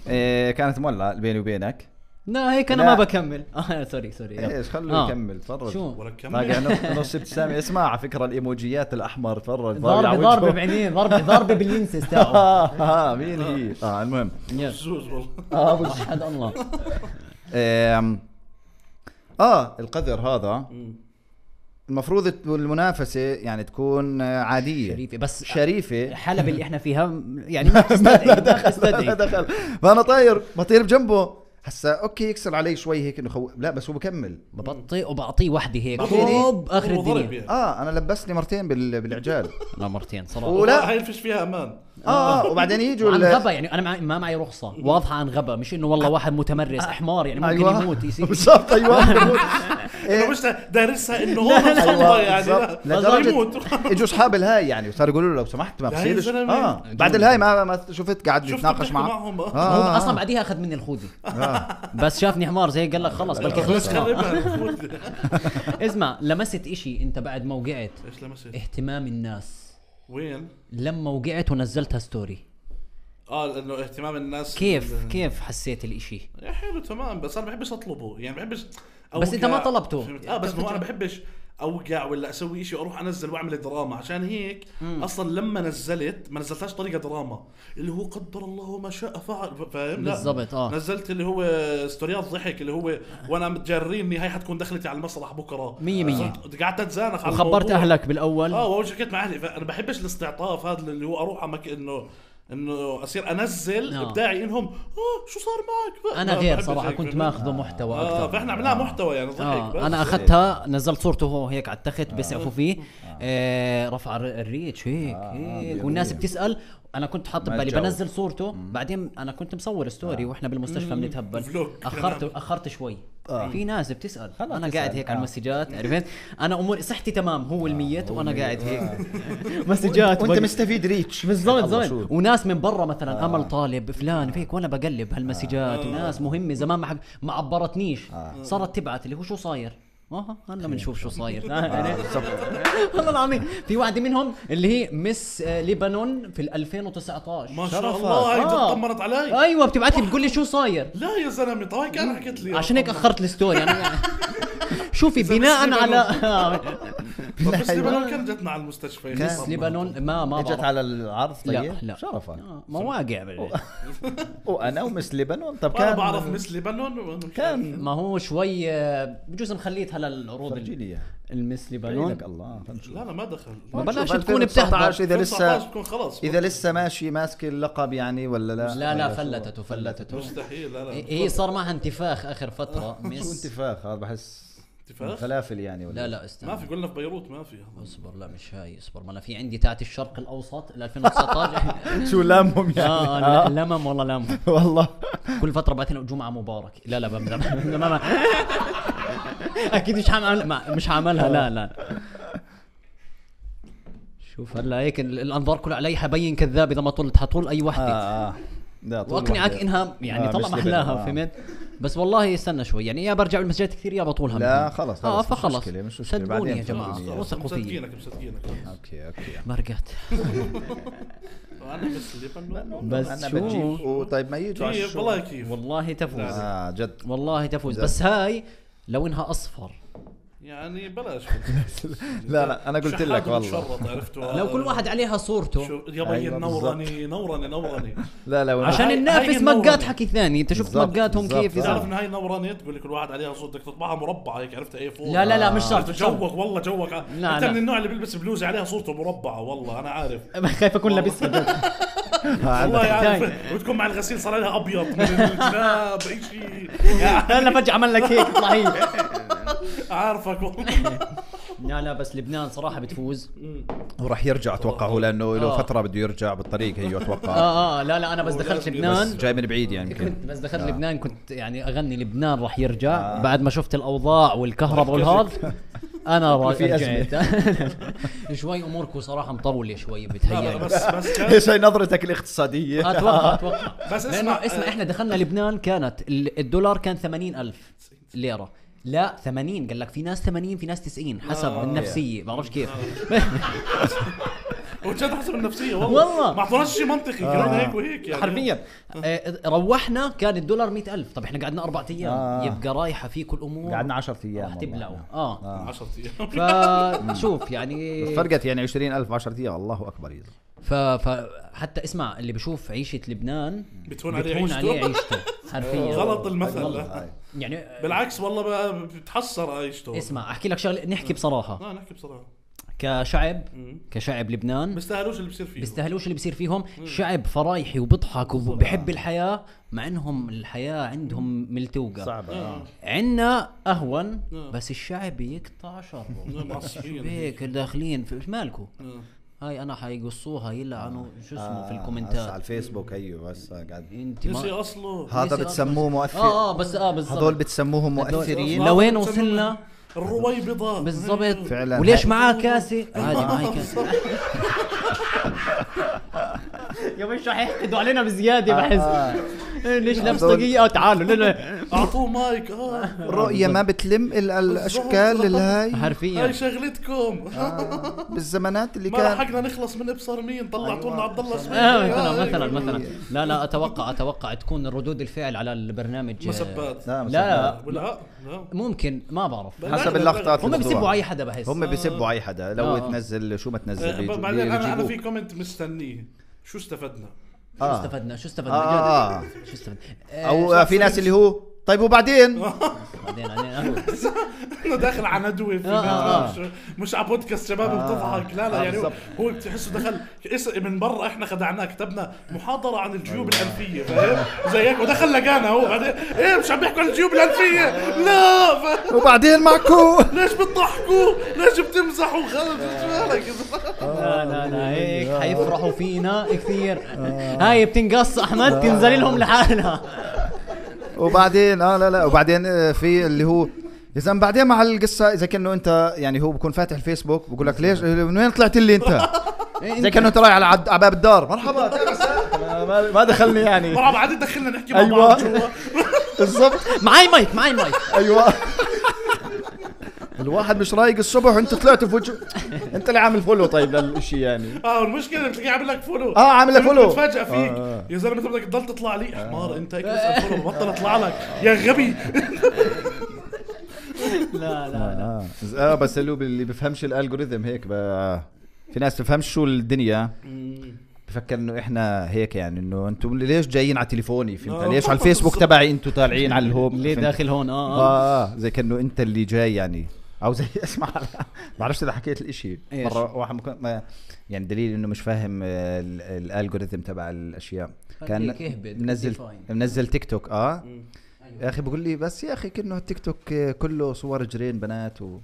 Speaker 3: إيه، كانت مولعه بيني وبينك
Speaker 2: لا هيك انا
Speaker 3: لا.
Speaker 2: ما بكمل [laughs] اه سوري سوري يلا.
Speaker 3: ايش خلوه
Speaker 2: آه.
Speaker 3: يكمل تفرج
Speaker 2: شو
Speaker 1: ولا كمل
Speaker 3: باقي نص- نص ابتسامه اسمع على فكره الايموجيات الاحمر تفرج
Speaker 2: ضربه ضربه بعينيه ضربه ضربه باللينسز تاعه إيه.
Speaker 3: اه مين هي
Speaker 2: آه.
Speaker 3: اه المهم
Speaker 2: يلا.
Speaker 1: بجوز والله
Speaker 3: اه
Speaker 2: وحد
Speaker 3: [laughs]
Speaker 2: الله
Speaker 3: آم، اه القذر هذا المفروض الت- المنافسه يعني تكون آه، عاديه
Speaker 2: شريفه بس
Speaker 3: شريفه
Speaker 2: [laughs] الحلبة اللي احنا فيها م-
Speaker 3: [laughs]
Speaker 2: يعني ما تستدعي ما
Speaker 3: لا
Speaker 2: تستدعي
Speaker 3: [laughs] دخل فانا طاير بطير بجنبه هسا اوكي يكسر علي شوي هيك انه خو... لا بس هو بكمل
Speaker 2: ببطئ وبعطيه وحده هيك يعني
Speaker 3: بعطيني.
Speaker 2: طوب اخر
Speaker 1: هو ضرب
Speaker 2: الدنيا
Speaker 1: يعني.
Speaker 3: اه انا لبسني مرتين بال...
Speaker 2: [laughs]
Speaker 3: بالعجال
Speaker 2: لا مرتين صراحه
Speaker 3: ولا
Speaker 1: هاي الفش فيها امان
Speaker 3: اه وبعدين يجوا
Speaker 2: عن
Speaker 3: ال-
Speaker 2: غبا يعني انا معي ما معي رخصه واضحه عن غبا مش انه والله واحد متمرس حمار يعني ممكن
Speaker 3: أيوة.
Speaker 2: يموت يصير
Speaker 3: [laughs]
Speaker 2: [laughs]
Speaker 3: بالضبط ايوه يموت.
Speaker 1: انا
Speaker 3: إيه،
Speaker 1: مش دارسها انه هو مصدى
Speaker 3: أيوة،
Speaker 1: يعني
Speaker 3: بالضبط.
Speaker 1: لا
Speaker 3: لدرجة-
Speaker 1: لا يموت
Speaker 3: اجوا اصحاب الهاي يعني وصاروا يقولوا له لو سمحت ما
Speaker 1: لا يا
Speaker 3: بصيرش
Speaker 1: زلمة.
Speaker 3: اه بعد الهاي ما, ما شفت قاعد
Speaker 1: شفت
Speaker 3: يتناقش
Speaker 1: بتحكوا
Speaker 3: معه
Speaker 1: معهم آه.
Speaker 2: هو
Speaker 3: آه.
Speaker 2: اصلا بعديها اخذ مني الخوذه بس شافني حمار زي هيك قال لك
Speaker 1: [laughs]
Speaker 2: خلص بلكي
Speaker 1: بس
Speaker 2: خلص
Speaker 3: [laughs]
Speaker 1: خربها
Speaker 2: اسمع لمست اشي انت بعد ما وقعت
Speaker 1: ايش لمست
Speaker 2: اهتمام الناس
Speaker 1: وين
Speaker 2: لما وقعت ونزلتها ستوري
Speaker 1: اه انه اهتمام الناس
Speaker 2: كيف
Speaker 1: بال-
Speaker 2: كيف حسيت الاشي
Speaker 1: يا حلو يعني تمام بس انا بحبش اطلبه يعني بحبش
Speaker 2: بس أنت ما طلبته.
Speaker 1: فهمت؟ اه بس هو انا بحبش اوقع ولا اسوي شيء اروح انزل واعمل دراما عشان هيك اصلا لما نزلت ما نزلتهاش طريقه دراما اللي هو قدر الله ما شاء فعل ف- فاهم لا.
Speaker 2: بالضبط، آه.
Speaker 1: نزلت اللي هو ستوريات ضحك اللي هو وانا متجريني هاي حتكون دخلتي على المسرح بكره
Speaker 2: مية مية.
Speaker 1: صرت- قعدت اتزانخ على
Speaker 2: وخبرت
Speaker 1: الموضوع.
Speaker 2: اهلك بالاول
Speaker 1: اه واول شيء حكيت مع اهلي فانا بحبش الاستعطاف هذا اللي هو اروح على مك... انه انه اصير انزل
Speaker 2: آه.
Speaker 1: ابداعي انهم اه شو صار معك
Speaker 2: انا
Speaker 1: ما
Speaker 2: غير
Speaker 1: بحبش
Speaker 2: صراحه
Speaker 1: هيك،
Speaker 2: كنت
Speaker 1: فاهم؟
Speaker 2: ماخذه محتوى
Speaker 1: اه
Speaker 2: اكثر
Speaker 1: فاحنا عملناها محتوى يعني ضحك بس
Speaker 2: آه انا اخذتها نزلت صورته هو هيك على التخت بيسعفوا فيه آه رفع الر- الريتش هيك هيك
Speaker 3: آه، بيضيع.
Speaker 2: والناس بتسال انا كنت حاطط
Speaker 3: ما آه.
Speaker 2: بالي
Speaker 3: الجو.
Speaker 2: بنزل صورته بعدين انا كنت مصور ستوري واحنا بالمستشفى بنتهبل
Speaker 1: فلوج.
Speaker 2: اخرت اخرت شوي في ناس بتسال
Speaker 3: آه. خلاص
Speaker 2: انا
Speaker 3: تسأل.
Speaker 2: قاعد هيك على
Speaker 3: آه.
Speaker 2: المسجات عرفت انا اموري صحتي تمام هو الميت وانا قاعد هيك
Speaker 3: وانت
Speaker 2: [laughs] مسجات
Speaker 3: آه. وأنت
Speaker 2: بق-
Speaker 3: مستفيد ريتش
Speaker 2: بالضبط
Speaker 3: الله،
Speaker 2: زين
Speaker 3: شو.
Speaker 2: وناس من برا
Speaker 3: آه.
Speaker 2: مثلا امل طالب فلان فيك وانا بقلب هالمسجات وناس مهمه زمان ما حق ما عبرتنيش
Speaker 3: آه.
Speaker 2: صارت تبعت اللي هو شو صاير اه هلا بنشوف شو
Speaker 3: [laughs]
Speaker 2: صاير آه، يعني.
Speaker 3: آه،
Speaker 2: [laughs] والله العظيم في واحده منهم اللي هي مس آه، ليبانون في ال 2019
Speaker 1: ما شاء
Speaker 3: شرفك.
Speaker 1: الله هاي
Speaker 2: آه.
Speaker 1: طمنت علي
Speaker 2: ايوه بتبعت لي بتقول لي شو صاير
Speaker 1: لا يا زلمه طب هيك انا حكيت لي
Speaker 2: عشان هيك اخرت الستوري انا
Speaker 1: [laughs]
Speaker 2: شوفي بناء على [laughs]
Speaker 1: بس لبنان كان جتنا على المستشفى يعني
Speaker 2: مس
Speaker 1: طمنت.
Speaker 2: ليبانون ما ما
Speaker 3: اجت
Speaker 2: بعرف.
Speaker 3: على العرض طيب
Speaker 2: لا، لا.
Speaker 3: شرفك
Speaker 2: آه، مواقع بال-
Speaker 3: وانا ومس لبنان طب كان
Speaker 1: انا بعرف مس لبنان وأنا مش عارف.
Speaker 3: كان
Speaker 2: ما هو شوي آه، بجوز مخليت هلا العروض
Speaker 3: فرجيني
Speaker 2: ال-
Speaker 3: اياه
Speaker 2: المس لبنان
Speaker 3: بعينك الله خلنا نشوف.
Speaker 1: لا انا ما دخل
Speaker 2: ما بلاش
Speaker 3: شوف،
Speaker 2: تكون بتحضر
Speaker 3: 2019 اذا
Speaker 1: 19
Speaker 3: لسه
Speaker 1: بكون خلاص
Speaker 3: اذا لسه ماشي ماسك اللقب يعني ولا لا
Speaker 2: لا لا
Speaker 3: ولا شو؟
Speaker 2: فلتته فلتته
Speaker 1: مستحيل لا لا
Speaker 2: هي صار معها انتفاخ اخر فتره
Speaker 3: شو
Speaker 2: مس
Speaker 3: انتفاخ هذا بحس
Speaker 1: انتفاخ؟
Speaker 3: فلافل يعني ولا
Speaker 2: لا لا
Speaker 1: ما
Speaker 2: استنى
Speaker 1: في قلنا في بيروت ما في
Speaker 2: اصبر لا مش هاي اصبر ما انا في عندي تاعت الشرق الاوسط ال 2019
Speaker 3: شو لامهم يعني
Speaker 2: اه
Speaker 3: آه.
Speaker 2: لا- لمم والله لمم
Speaker 3: [laughs] والله
Speaker 2: كل فتره بعث لنا جمعه مبارك لا لا بمزح ما [laughs] ما- اكيد مش حعمل ما- مش حعملها لا لا شوف هلا هيك ال- الانظار كلها علي حبين كذاب اذا ما طلت حطول اي وحده
Speaker 3: اه اه [laughs] لا طول
Speaker 2: واقنعك
Speaker 3: واحدة.
Speaker 2: انها آه. يعني
Speaker 3: آه،
Speaker 2: طلع
Speaker 3: مش لبن.
Speaker 2: محلاها
Speaker 3: آه.
Speaker 2: فهمت بس والله استنى شوي يعني يا برجع المسجد كثير يا بطول هم
Speaker 3: لا خلاص
Speaker 2: اه
Speaker 3: خلاص مش
Speaker 2: فخلص
Speaker 3: مشكلة، مش مشكلة،
Speaker 2: صدقوني يا
Speaker 3: بعدين
Speaker 2: جماعه
Speaker 3: خلص،
Speaker 2: وثقوا في
Speaker 1: مصدقينك مصدقينك
Speaker 3: اوكي اوكي
Speaker 2: [laughs] مرقت
Speaker 1: انا بس اللي بنو
Speaker 2: بس
Speaker 3: انا
Speaker 2: شو؟
Speaker 3: بجيب
Speaker 1: طيب
Speaker 3: وطيب ما يجوا على
Speaker 1: كيف
Speaker 3: الشغل.
Speaker 1: والله إيه، كيف
Speaker 2: والله تفوز
Speaker 3: اه جد
Speaker 2: والله تفوز
Speaker 3: زين.
Speaker 2: بس هاي لو انها اصفر
Speaker 1: يعني بلاش
Speaker 3: [laughs] لا لا انا قلت لك
Speaker 1: شحات
Speaker 3: والله
Speaker 1: متشرط، عرفتوا
Speaker 2: [laughs] لو كل واحد عليها صورته
Speaker 1: شو يا بي
Speaker 3: أيوة
Speaker 1: نورني نورني
Speaker 3: [laughs]
Speaker 1: نورني
Speaker 3: لا لا وأنا-
Speaker 2: عشان
Speaker 1: هاي- هاي
Speaker 2: ننافس
Speaker 1: النورة.
Speaker 2: مقات حكي ثاني انت شفت
Speaker 3: بالضبط،
Speaker 2: مقاتهم
Speaker 3: بالضبط.
Speaker 2: كيف
Speaker 1: تعرف
Speaker 2: يزعلوا.
Speaker 1: ان هاي نوراني تقول لك الواحد عليها صوت بدك تطبعها مربعه هيك عرفت اي فوق
Speaker 2: لا لا لا مش شرط
Speaker 1: انت
Speaker 2: مش شرط.
Speaker 1: جوك والله جوك
Speaker 2: لا،
Speaker 1: انت
Speaker 2: لا.
Speaker 1: من النوع اللي بيلبس بلوزه عليها صورته مربعه والله انا
Speaker 2: [laughs]
Speaker 1: عارف
Speaker 2: [laughs] خايف اكون [laughs]
Speaker 1: [laughs]
Speaker 2: لابسها
Speaker 1: والله عارف
Speaker 2: تاي.
Speaker 1: وتكون مع الغسيل صار لها ابيض من الجناب اي شيء [laughs]
Speaker 2: هلا فجاه عمل لك هيك اطلع هي
Speaker 1: عارفك
Speaker 2: [laughs]
Speaker 1: والله
Speaker 2: لا لا بس لبنان صراحه بتفوز
Speaker 3: وراح يرجع اتوقع هو لانه له
Speaker 2: آه.
Speaker 3: فتره بده يرجع بالطريق هي اتوقع
Speaker 2: اه اه لا لا انا بس دخلت
Speaker 1: لازم
Speaker 3: بس
Speaker 2: لبنان
Speaker 3: جاي من بعيد يعني [laughs]
Speaker 2: كنت
Speaker 3: يمكن
Speaker 2: بس دخلت لبنان كنت يعني اغني لبنان راح يرجع بعد ما شفت الاوضاع والكهرباء والهذا انا راح
Speaker 3: في
Speaker 2: رجعت [laughs] شوي اموركم صراحه مطوله شوي بتهيألي
Speaker 1: بس بس
Speaker 3: [laughs]
Speaker 1: كان-
Speaker 3: ايش هي نظرتك الاقتصاديه؟
Speaker 2: اتوقع اتوقع
Speaker 1: [laughs] بس اسمع- آه.
Speaker 2: لانه اسمع احنا دخلنا لبنان كانت ال- الدولار كان 80 الف ليره لا 80 قال لك في ناس 80 في ناس 90 حسب
Speaker 1: آه.
Speaker 2: النفسيه بعرفش كيف
Speaker 1: وجد حسب النفسيه والله
Speaker 2: والله.
Speaker 1: ما اعطوناش شيء منطقي
Speaker 3: آه.
Speaker 1: كمان هيك وهيك يعني
Speaker 2: حرفيا [laughs] آه، روحنا كان الدولار 100 الف طب احنا قعدنا اربع ايام
Speaker 3: آه.
Speaker 2: يبقى رايحه فيك الامور
Speaker 3: 10 ايام
Speaker 2: راح
Speaker 3: والله. آه.
Speaker 2: تبلعوا اه
Speaker 1: 10
Speaker 2: [laughs]
Speaker 1: ايام
Speaker 2: فشوف يعني
Speaker 3: بس فرقت يعني 20000 10 ايام الله اكبر يزن
Speaker 2: ف... فحتى اسمع اللي بشوف عيشه لبنان
Speaker 1: بتهون عليه
Speaker 2: بتهون عليه
Speaker 1: عيشته
Speaker 2: عيشته حرفيا
Speaker 1: [laughs] غلط المثل لا.
Speaker 3: آه.
Speaker 2: يعني
Speaker 1: بالعكس والله بقى بتحسر عيشته
Speaker 2: اسمع احكي لك شغله نحكي بصراحه
Speaker 1: لا نحكي بصراحه
Speaker 2: كشعب
Speaker 1: مم.
Speaker 2: كشعب لبنان
Speaker 1: بيستاهلوش اللي بصير فيه
Speaker 2: بيستاهلوش اللي بصير فيهم شعب فرايحي وبضحك وبحب الحياه مع انهم الحياه عندهم ملتوقه
Speaker 3: صعبه
Speaker 2: عنا اهون
Speaker 1: آه.
Speaker 2: بس الشعب يقطع
Speaker 1: [laughs]
Speaker 2: شره
Speaker 1: معصبين
Speaker 2: هيك داخلين في مالكو
Speaker 1: آه.
Speaker 2: هاي انا حيقصوها يلعنوا شو اسمه في
Speaker 3: آه. على
Speaker 2: الكومنتات
Speaker 3: الفيسبوك ايوه بس قاعد
Speaker 2: انت
Speaker 1: نسي
Speaker 2: ما
Speaker 1: اصله
Speaker 3: هذا
Speaker 2: ليش
Speaker 1: آه،
Speaker 3: بتسموه مؤثر
Speaker 2: اه اه بس اه بالضبط
Speaker 3: هذول بتسموهم مؤثرين
Speaker 2: أصلاً. لوين وصلنا؟
Speaker 1: الرويبضه
Speaker 2: بالضبط
Speaker 3: فعلاً. آه.
Speaker 2: وليش
Speaker 3: هاي-
Speaker 2: معاه كاسه عادي
Speaker 1: [laughs]
Speaker 2: معي كاسه [laughs] يا مش رح يحقدوا علينا بزياده
Speaker 3: آه.
Speaker 2: ليش آه،
Speaker 3: لابس طاقية؟
Speaker 2: تعالوا لا لا
Speaker 1: اعطوه مايك
Speaker 2: [laughs]
Speaker 1: اه
Speaker 3: الرؤيه ما بتلم الا الاشكال الهاي
Speaker 1: هاي
Speaker 2: حرفيا
Speaker 1: شغلتكم
Speaker 2: آه.
Speaker 3: بالزمانات اللي
Speaker 1: ما
Speaker 3: كان
Speaker 1: لحقنا نخلص من ابصر مين طلعتوا لنا عبد الله اسماعيل
Speaker 2: آه
Speaker 1: آه،
Speaker 2: مثلا
Speaker 1: هيك.
Speaker 2: مثلا مثلا لا لا اتوقع اتوقع تكون ردود الفعل على البرنامج آه،
Speaker 1: مسبات
Speaker 3: لا
Speaker 2: لا
Speaker 3: مسبات.
Speaker 2: لا
Speaker 1: ولا لا
Speaker 2: ممكن ما بعرف
Speaker 1: بلا.
Speaker 3: حسب اللقطات
Speaker 2: هم
Speaker 3: الموضوع.
Speaker 2: بيسبوا اي حدا بحس
Speaker 3: هم بيسبوا اي حدا لو
Speaker 2: آه.
Speaker 3: تنزل شو ما تنزل
Speaker 1: آه،
Speaker 3: بيجوا-
Speaker 1: بعدين انا انا في
Speaker 3: بيجيبوك.
Speaker 1: كومنت مستنيه شو استفدنا؟
Speaker 2: شو
Speaker 3: آه.
Speaker 2: استفدنا شو استفدنا
Speaker 3: آه، آه.
Speaker 2: جد؟ شو استفدنا
Speaker 3: او آه، في ناس اللي هو طيب
Speaker 1: [laughs]
Speaker 3: وبعدين
Speaker 2: إيه، بعدين
Speaker 3: آه.
Speaker 2: علينا.
Speaker 1: انه داخل على ندوه في
Speaker 2: آه، آه.
Speaker 1: مش, مش على بودكاست شباب
Speaker 3: آه.
Speaker 1: بتضحك لا لا
Speaker 3: آه،
Speaker 1: يعني هو-
Speaker 3: بالضبط.
Speaker 1: هو بتحسه دخل اس- من برا احنا خدعناه كتبنا محاضره عن الجيوب الانفيه فاهم زي هيك ودخل لقانا هو بعدين ايه مش عم بيحكوا عن الجيوب الانفيه لا ف-
Speaker 3: وبعدين معكو
Speaker 1: ليش بتضحكوا ليش بتمزحوا خلص شو مالك
Speaker 2: لا لا
Speaker 3: آه.
Speaker 2: لا هيك حيفرحوا فينا كثير هاي بتنقص
Speaker 3: آه.
Speaker 2: احمد تنزل لهم لحالها
Speaker 3: وبعدين اه لا لا وبعدين آه، في اللي هو اذا بعدين مع القصه اذا كانه انت يعني هو بكون فاتح الفيسبوك بقول لك ليش آه، من وين طلعت إيه، لي [laughs] انت؟ اذا كانه انت رايح على عد- على باب الدار [laughs] مرحبا ما- ما دخلني يعني
Speaker 1: مرة بعدين دخلنا نحكي مع
Speaker 3: أيوة.
Speaker 1: بعض جوا
Speaker 3: بالضبط
Speaker 2: معي مايك معي مايك
Speaker 3: ايوه الواحد مش رايق الصبح وانت طلعت في وجه انت اللي عامل فولو طيب للشيء يعني
Speaker 1: اه المشكله بتلاقيه عامل لك فولو
Speaker 3: آه، عامل لك فولو.
Speaker 1: بتفاجئ فيك
Speaker 3: آه.
Speaker 1: يا زلمه انت بدك تضل تطلع لي حمار انت هيك
Speaker 3: [laughs]
Speaker 1: بس فولو بطل اطلع لك يا غبي
Speaker 2: لا لا
Speaker 3: اه آه، بس اللي هو اللي بفهمش الالجوريثم هيك ب- في ناس بفهمش شو الدنيا بفكر انه احنا هيك يعني انه انتم ليش جايين على تليفوني فهمت
Speaker 1: آه.
Speaker 3: ليش على الفيسبوك تبعي انتم طالعين على الهوم
Speaker 2: ليه
Speaker 3: فهمت؟
Speaker 2: داخل هون اه اه
Speaker 3: اه اه زي كانه انت اللي جاي يعني او زي [laughs] اسمع ما بعرفش اذا حكيت الاشي
Speaker 2: إيش؟
Speaker 3: مره واحد ممكن ما يعني دليل انه مش فاهم آه، ال- الالجوريثم تبع الاشياء كان
Speaker 2: خليك اهبد،
Speaker 3: منزل
Speaker 2: إيه define.
Speaker 3: منزل تيك توك اه يا اخي بقول لي بس يا اخي كانه التيك توك آه، كله صور جرين بنات و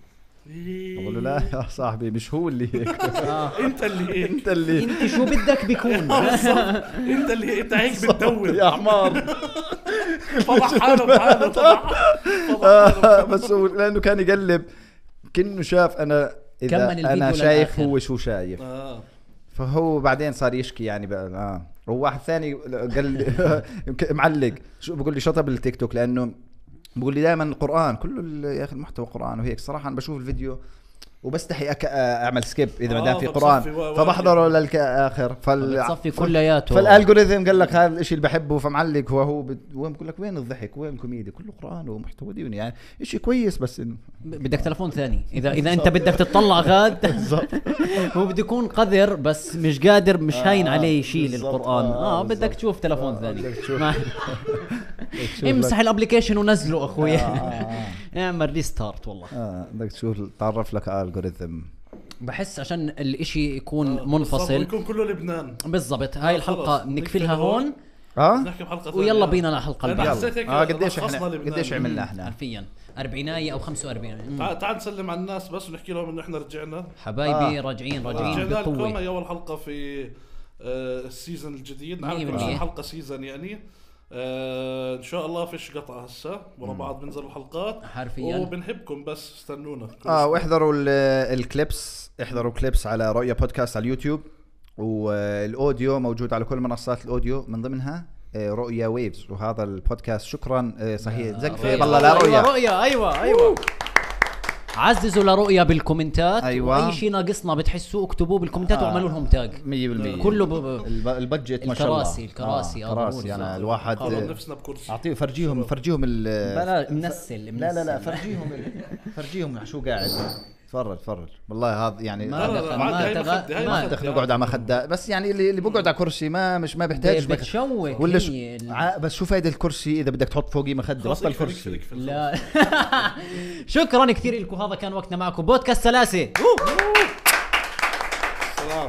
Speaker 3: بقول له لا يا صاحبي مش هو اللي هيك
Speaker 1: [laughs] انت اللي
Speaker 3: [laughs]
Speaker 1: هيك
Speaker 3: انت اللي
Speaker 2: انت شو بدك [laughs] بيكون
Speaker 1: انت اللي ايه؟ انت هيك بتدور
Speaker 3: يا حمار
Speaker 1: فضح حاله بحاله فضح فضح حاله.
Speaker 3: آه، بس هو لانه كان يقلب كانه شاف انا
Speaker 2: كمل
Speaker 3: اذا
Speaker 2: الفيديو
Speaker 3: انا شايف
Speaker 2: للآخر.
Speaker 3: هو شو شايف
Speaker 1: آه.
Speaker 3: فهو بعدين صار يشكي يعني بقى [laughs] آه. وواحد ثاني قال لي- معلق شو بقول لي شطب التيك توك لانه بقول لي دائما القران كله ال- يا اخي المحتوى قران وهيك صراحه انا بشوف الفيديو وبستحي أك... اعمل سكيب اذا ما
Speaker 1: آه،
Speaker 3: دام في
Speaker 1: فبتصفي
Speaker 3: قران
Speaker 1: و- و-
Speaker 3: فبحضره للاخر فال...
Speaker 2: بتصفي كلياته
Speaker 3: فالالجوريثم قال لك هذا الشيء اللي بحبه فمعلق وهو بت... وين بقول لك وين الضحك وين الكوميديا كله قران ومحتوى ديني يعني شيء كويس بس انه
Speaker 2: بدك تلفون ثاني اذا اذا انت بدك تطلع غاد
Speaker 3: [laughs] بالضبط
Speaker 2: [laughs] هو بده يكون قذر بس مش قادر مش هاين
Speaker 3: آه،
Speaker 2: عليه شيء
Speaker 3: بالضبط.
Speaker 2: للقران
Speaker 3: آه،
Speaker 2: اه بدك
Speaker 3: بالضبط.
Speaker 2: تشوف تلفون
Speaker 3: آه،
Speaker 2: ثاني
Speaker 3: بدك تشوف. [laughs]
Speaker 2: ما- [laughs] امسح الابلكيشن ونزله اخوي [laughs]
Speaker 3: آه.
Speaker 2: اعمل ريستارت والله
Speaker 3: اه بدك تشوف تعرف لك الجوريثم
Speaker 2: بحس عشان الاشي
Speaker 1: آه،
Speaker 2: يكون
Speaker 1: بالضبط،
Speaker 2: منفصل
Speaker 1: ويكون كله لبنان
Speaker 2: بالضبط هاي الحلقه
Speaker 1: خلص،
Speaker 2: بنكفلها
Speaker 1: نقفلها
Speaker 2: هون
Speaker 1: هون.
Speaker 3: اه
Speaker 1: نحكي بحلقه ثانيه
Speaker 2: ويلا بينا للحلقه
Speaker 1: أنا
Speaker 2: اللي بعدها.
Speaker 1: حسيت هيك
Speaker 3: اه قديش احنا
Speaker 1: رخصنا لبنان.
Speaker 3: قديش عملنا احنا
Speaker 2: حرفيا اربعينايه او 45
Speaker 1: تعال تعال نسلم على الناس بس ونحكي لهم انه احنا رجعنا
Speaker 2: حبايبي
Speaker 3: آه.
Speaker 2: راجعين راجعين
Speaker 1: رجعنا لكم
Speaker 2: بقوه
Speaker 1: هي اول حلقه في آه، السيزون الجديد
Speaker 2: مية
Speaker 1: نعمل كل
Speaker 2: بالمية.
Speaker 1: شهر حلقه سيزون يعني آه، ان شاء الله فيش قطعه هسه ورا بعض بنزل الحلقات
Speaker 2: حرفيا
Speaker 1: وبنحبكم بس استنونا كل
Speaker 3: اه
Speaker 1: أسبوع.
Speaker 3: واحضروا ال- الكليبس احضروا كليبس على رؤيا بودكاست على اليوتيوب والاوديو موجود على كل منصات الاوديو من ضمنها آه، رؤيا ويفز وهذا البودكاست شكرا آه، صحيح زكفي
Speaker 2: رؤيا.
Speaker 3: والله لا
Speaker 2: أيوة،
Speaker 3: رؤيا
Speaker 2: رؤيا ايوه ايوه عززوا لرؤيا بالكومنتات
Speaker 3: أيوة.
Speaker 2: ايوه اي شيء ناقصنا بتحسوه اكتبوه بالكومنتات
Speaker 3: آه.
Speaker 2: واعملوا لهم تاج
Speaker 3: 100%
Speaker 2: كله ب-
Speaker 3: الب- البجت ما شاء الله
Speaker 2: الكراسي- الكراسي،
Speaker 3: آه
Speaker 2: آه،
Speaker 3: كراسي
Speaker 2: ضروري.
Speaker 3: يعني
Speaker 1: قالوا
Speaker 3: الواحد
Speaker 1: نفسنا بكرسي
Speaker 2: آه.
Speaker 3: اعطيه فرجيهم فرجيهم ال
Speaker 2: بلا منسل
Speaker 3: لا لا لا فرجيهم ال- [laughs] فرجيهم شو قاعد تفرج تفرج والله هذا يعني
Speaker 2: ما
Speaker 1: لا، لا،
Speaker 2: دخل
Speaker 1: عاد
Speaker 2: ما
Speaker 1: هاي
Speaker 2: تغ-
Speaker 1: مخدة، هاي
Speaker 2: ما
Speaker 1: مخدة.
Speaker 3: دخل اقعد على مخده بس يعني اللي اللي بقعد على كرسي ما مش ما بيحتاج مك-
Speaker 2: بتشوه
Speaker 3: ولا شو
Speaker 2: هي ال-
Speaker 3: ع- بس شو فايده الكرسي اذا بدك تحط فوقي مخده
Speaker 1: خلاص،
Speaker 3: بطل
Speaker 1: اقفل،
Speaker 3: كرسي
Speaker 1: اقفل، اقفل.
Speaker 2: لا [laughs] شكرا كثير لكم هذا كان وقتنا معكم بودكاست سلاسه
Speaker 1: سلام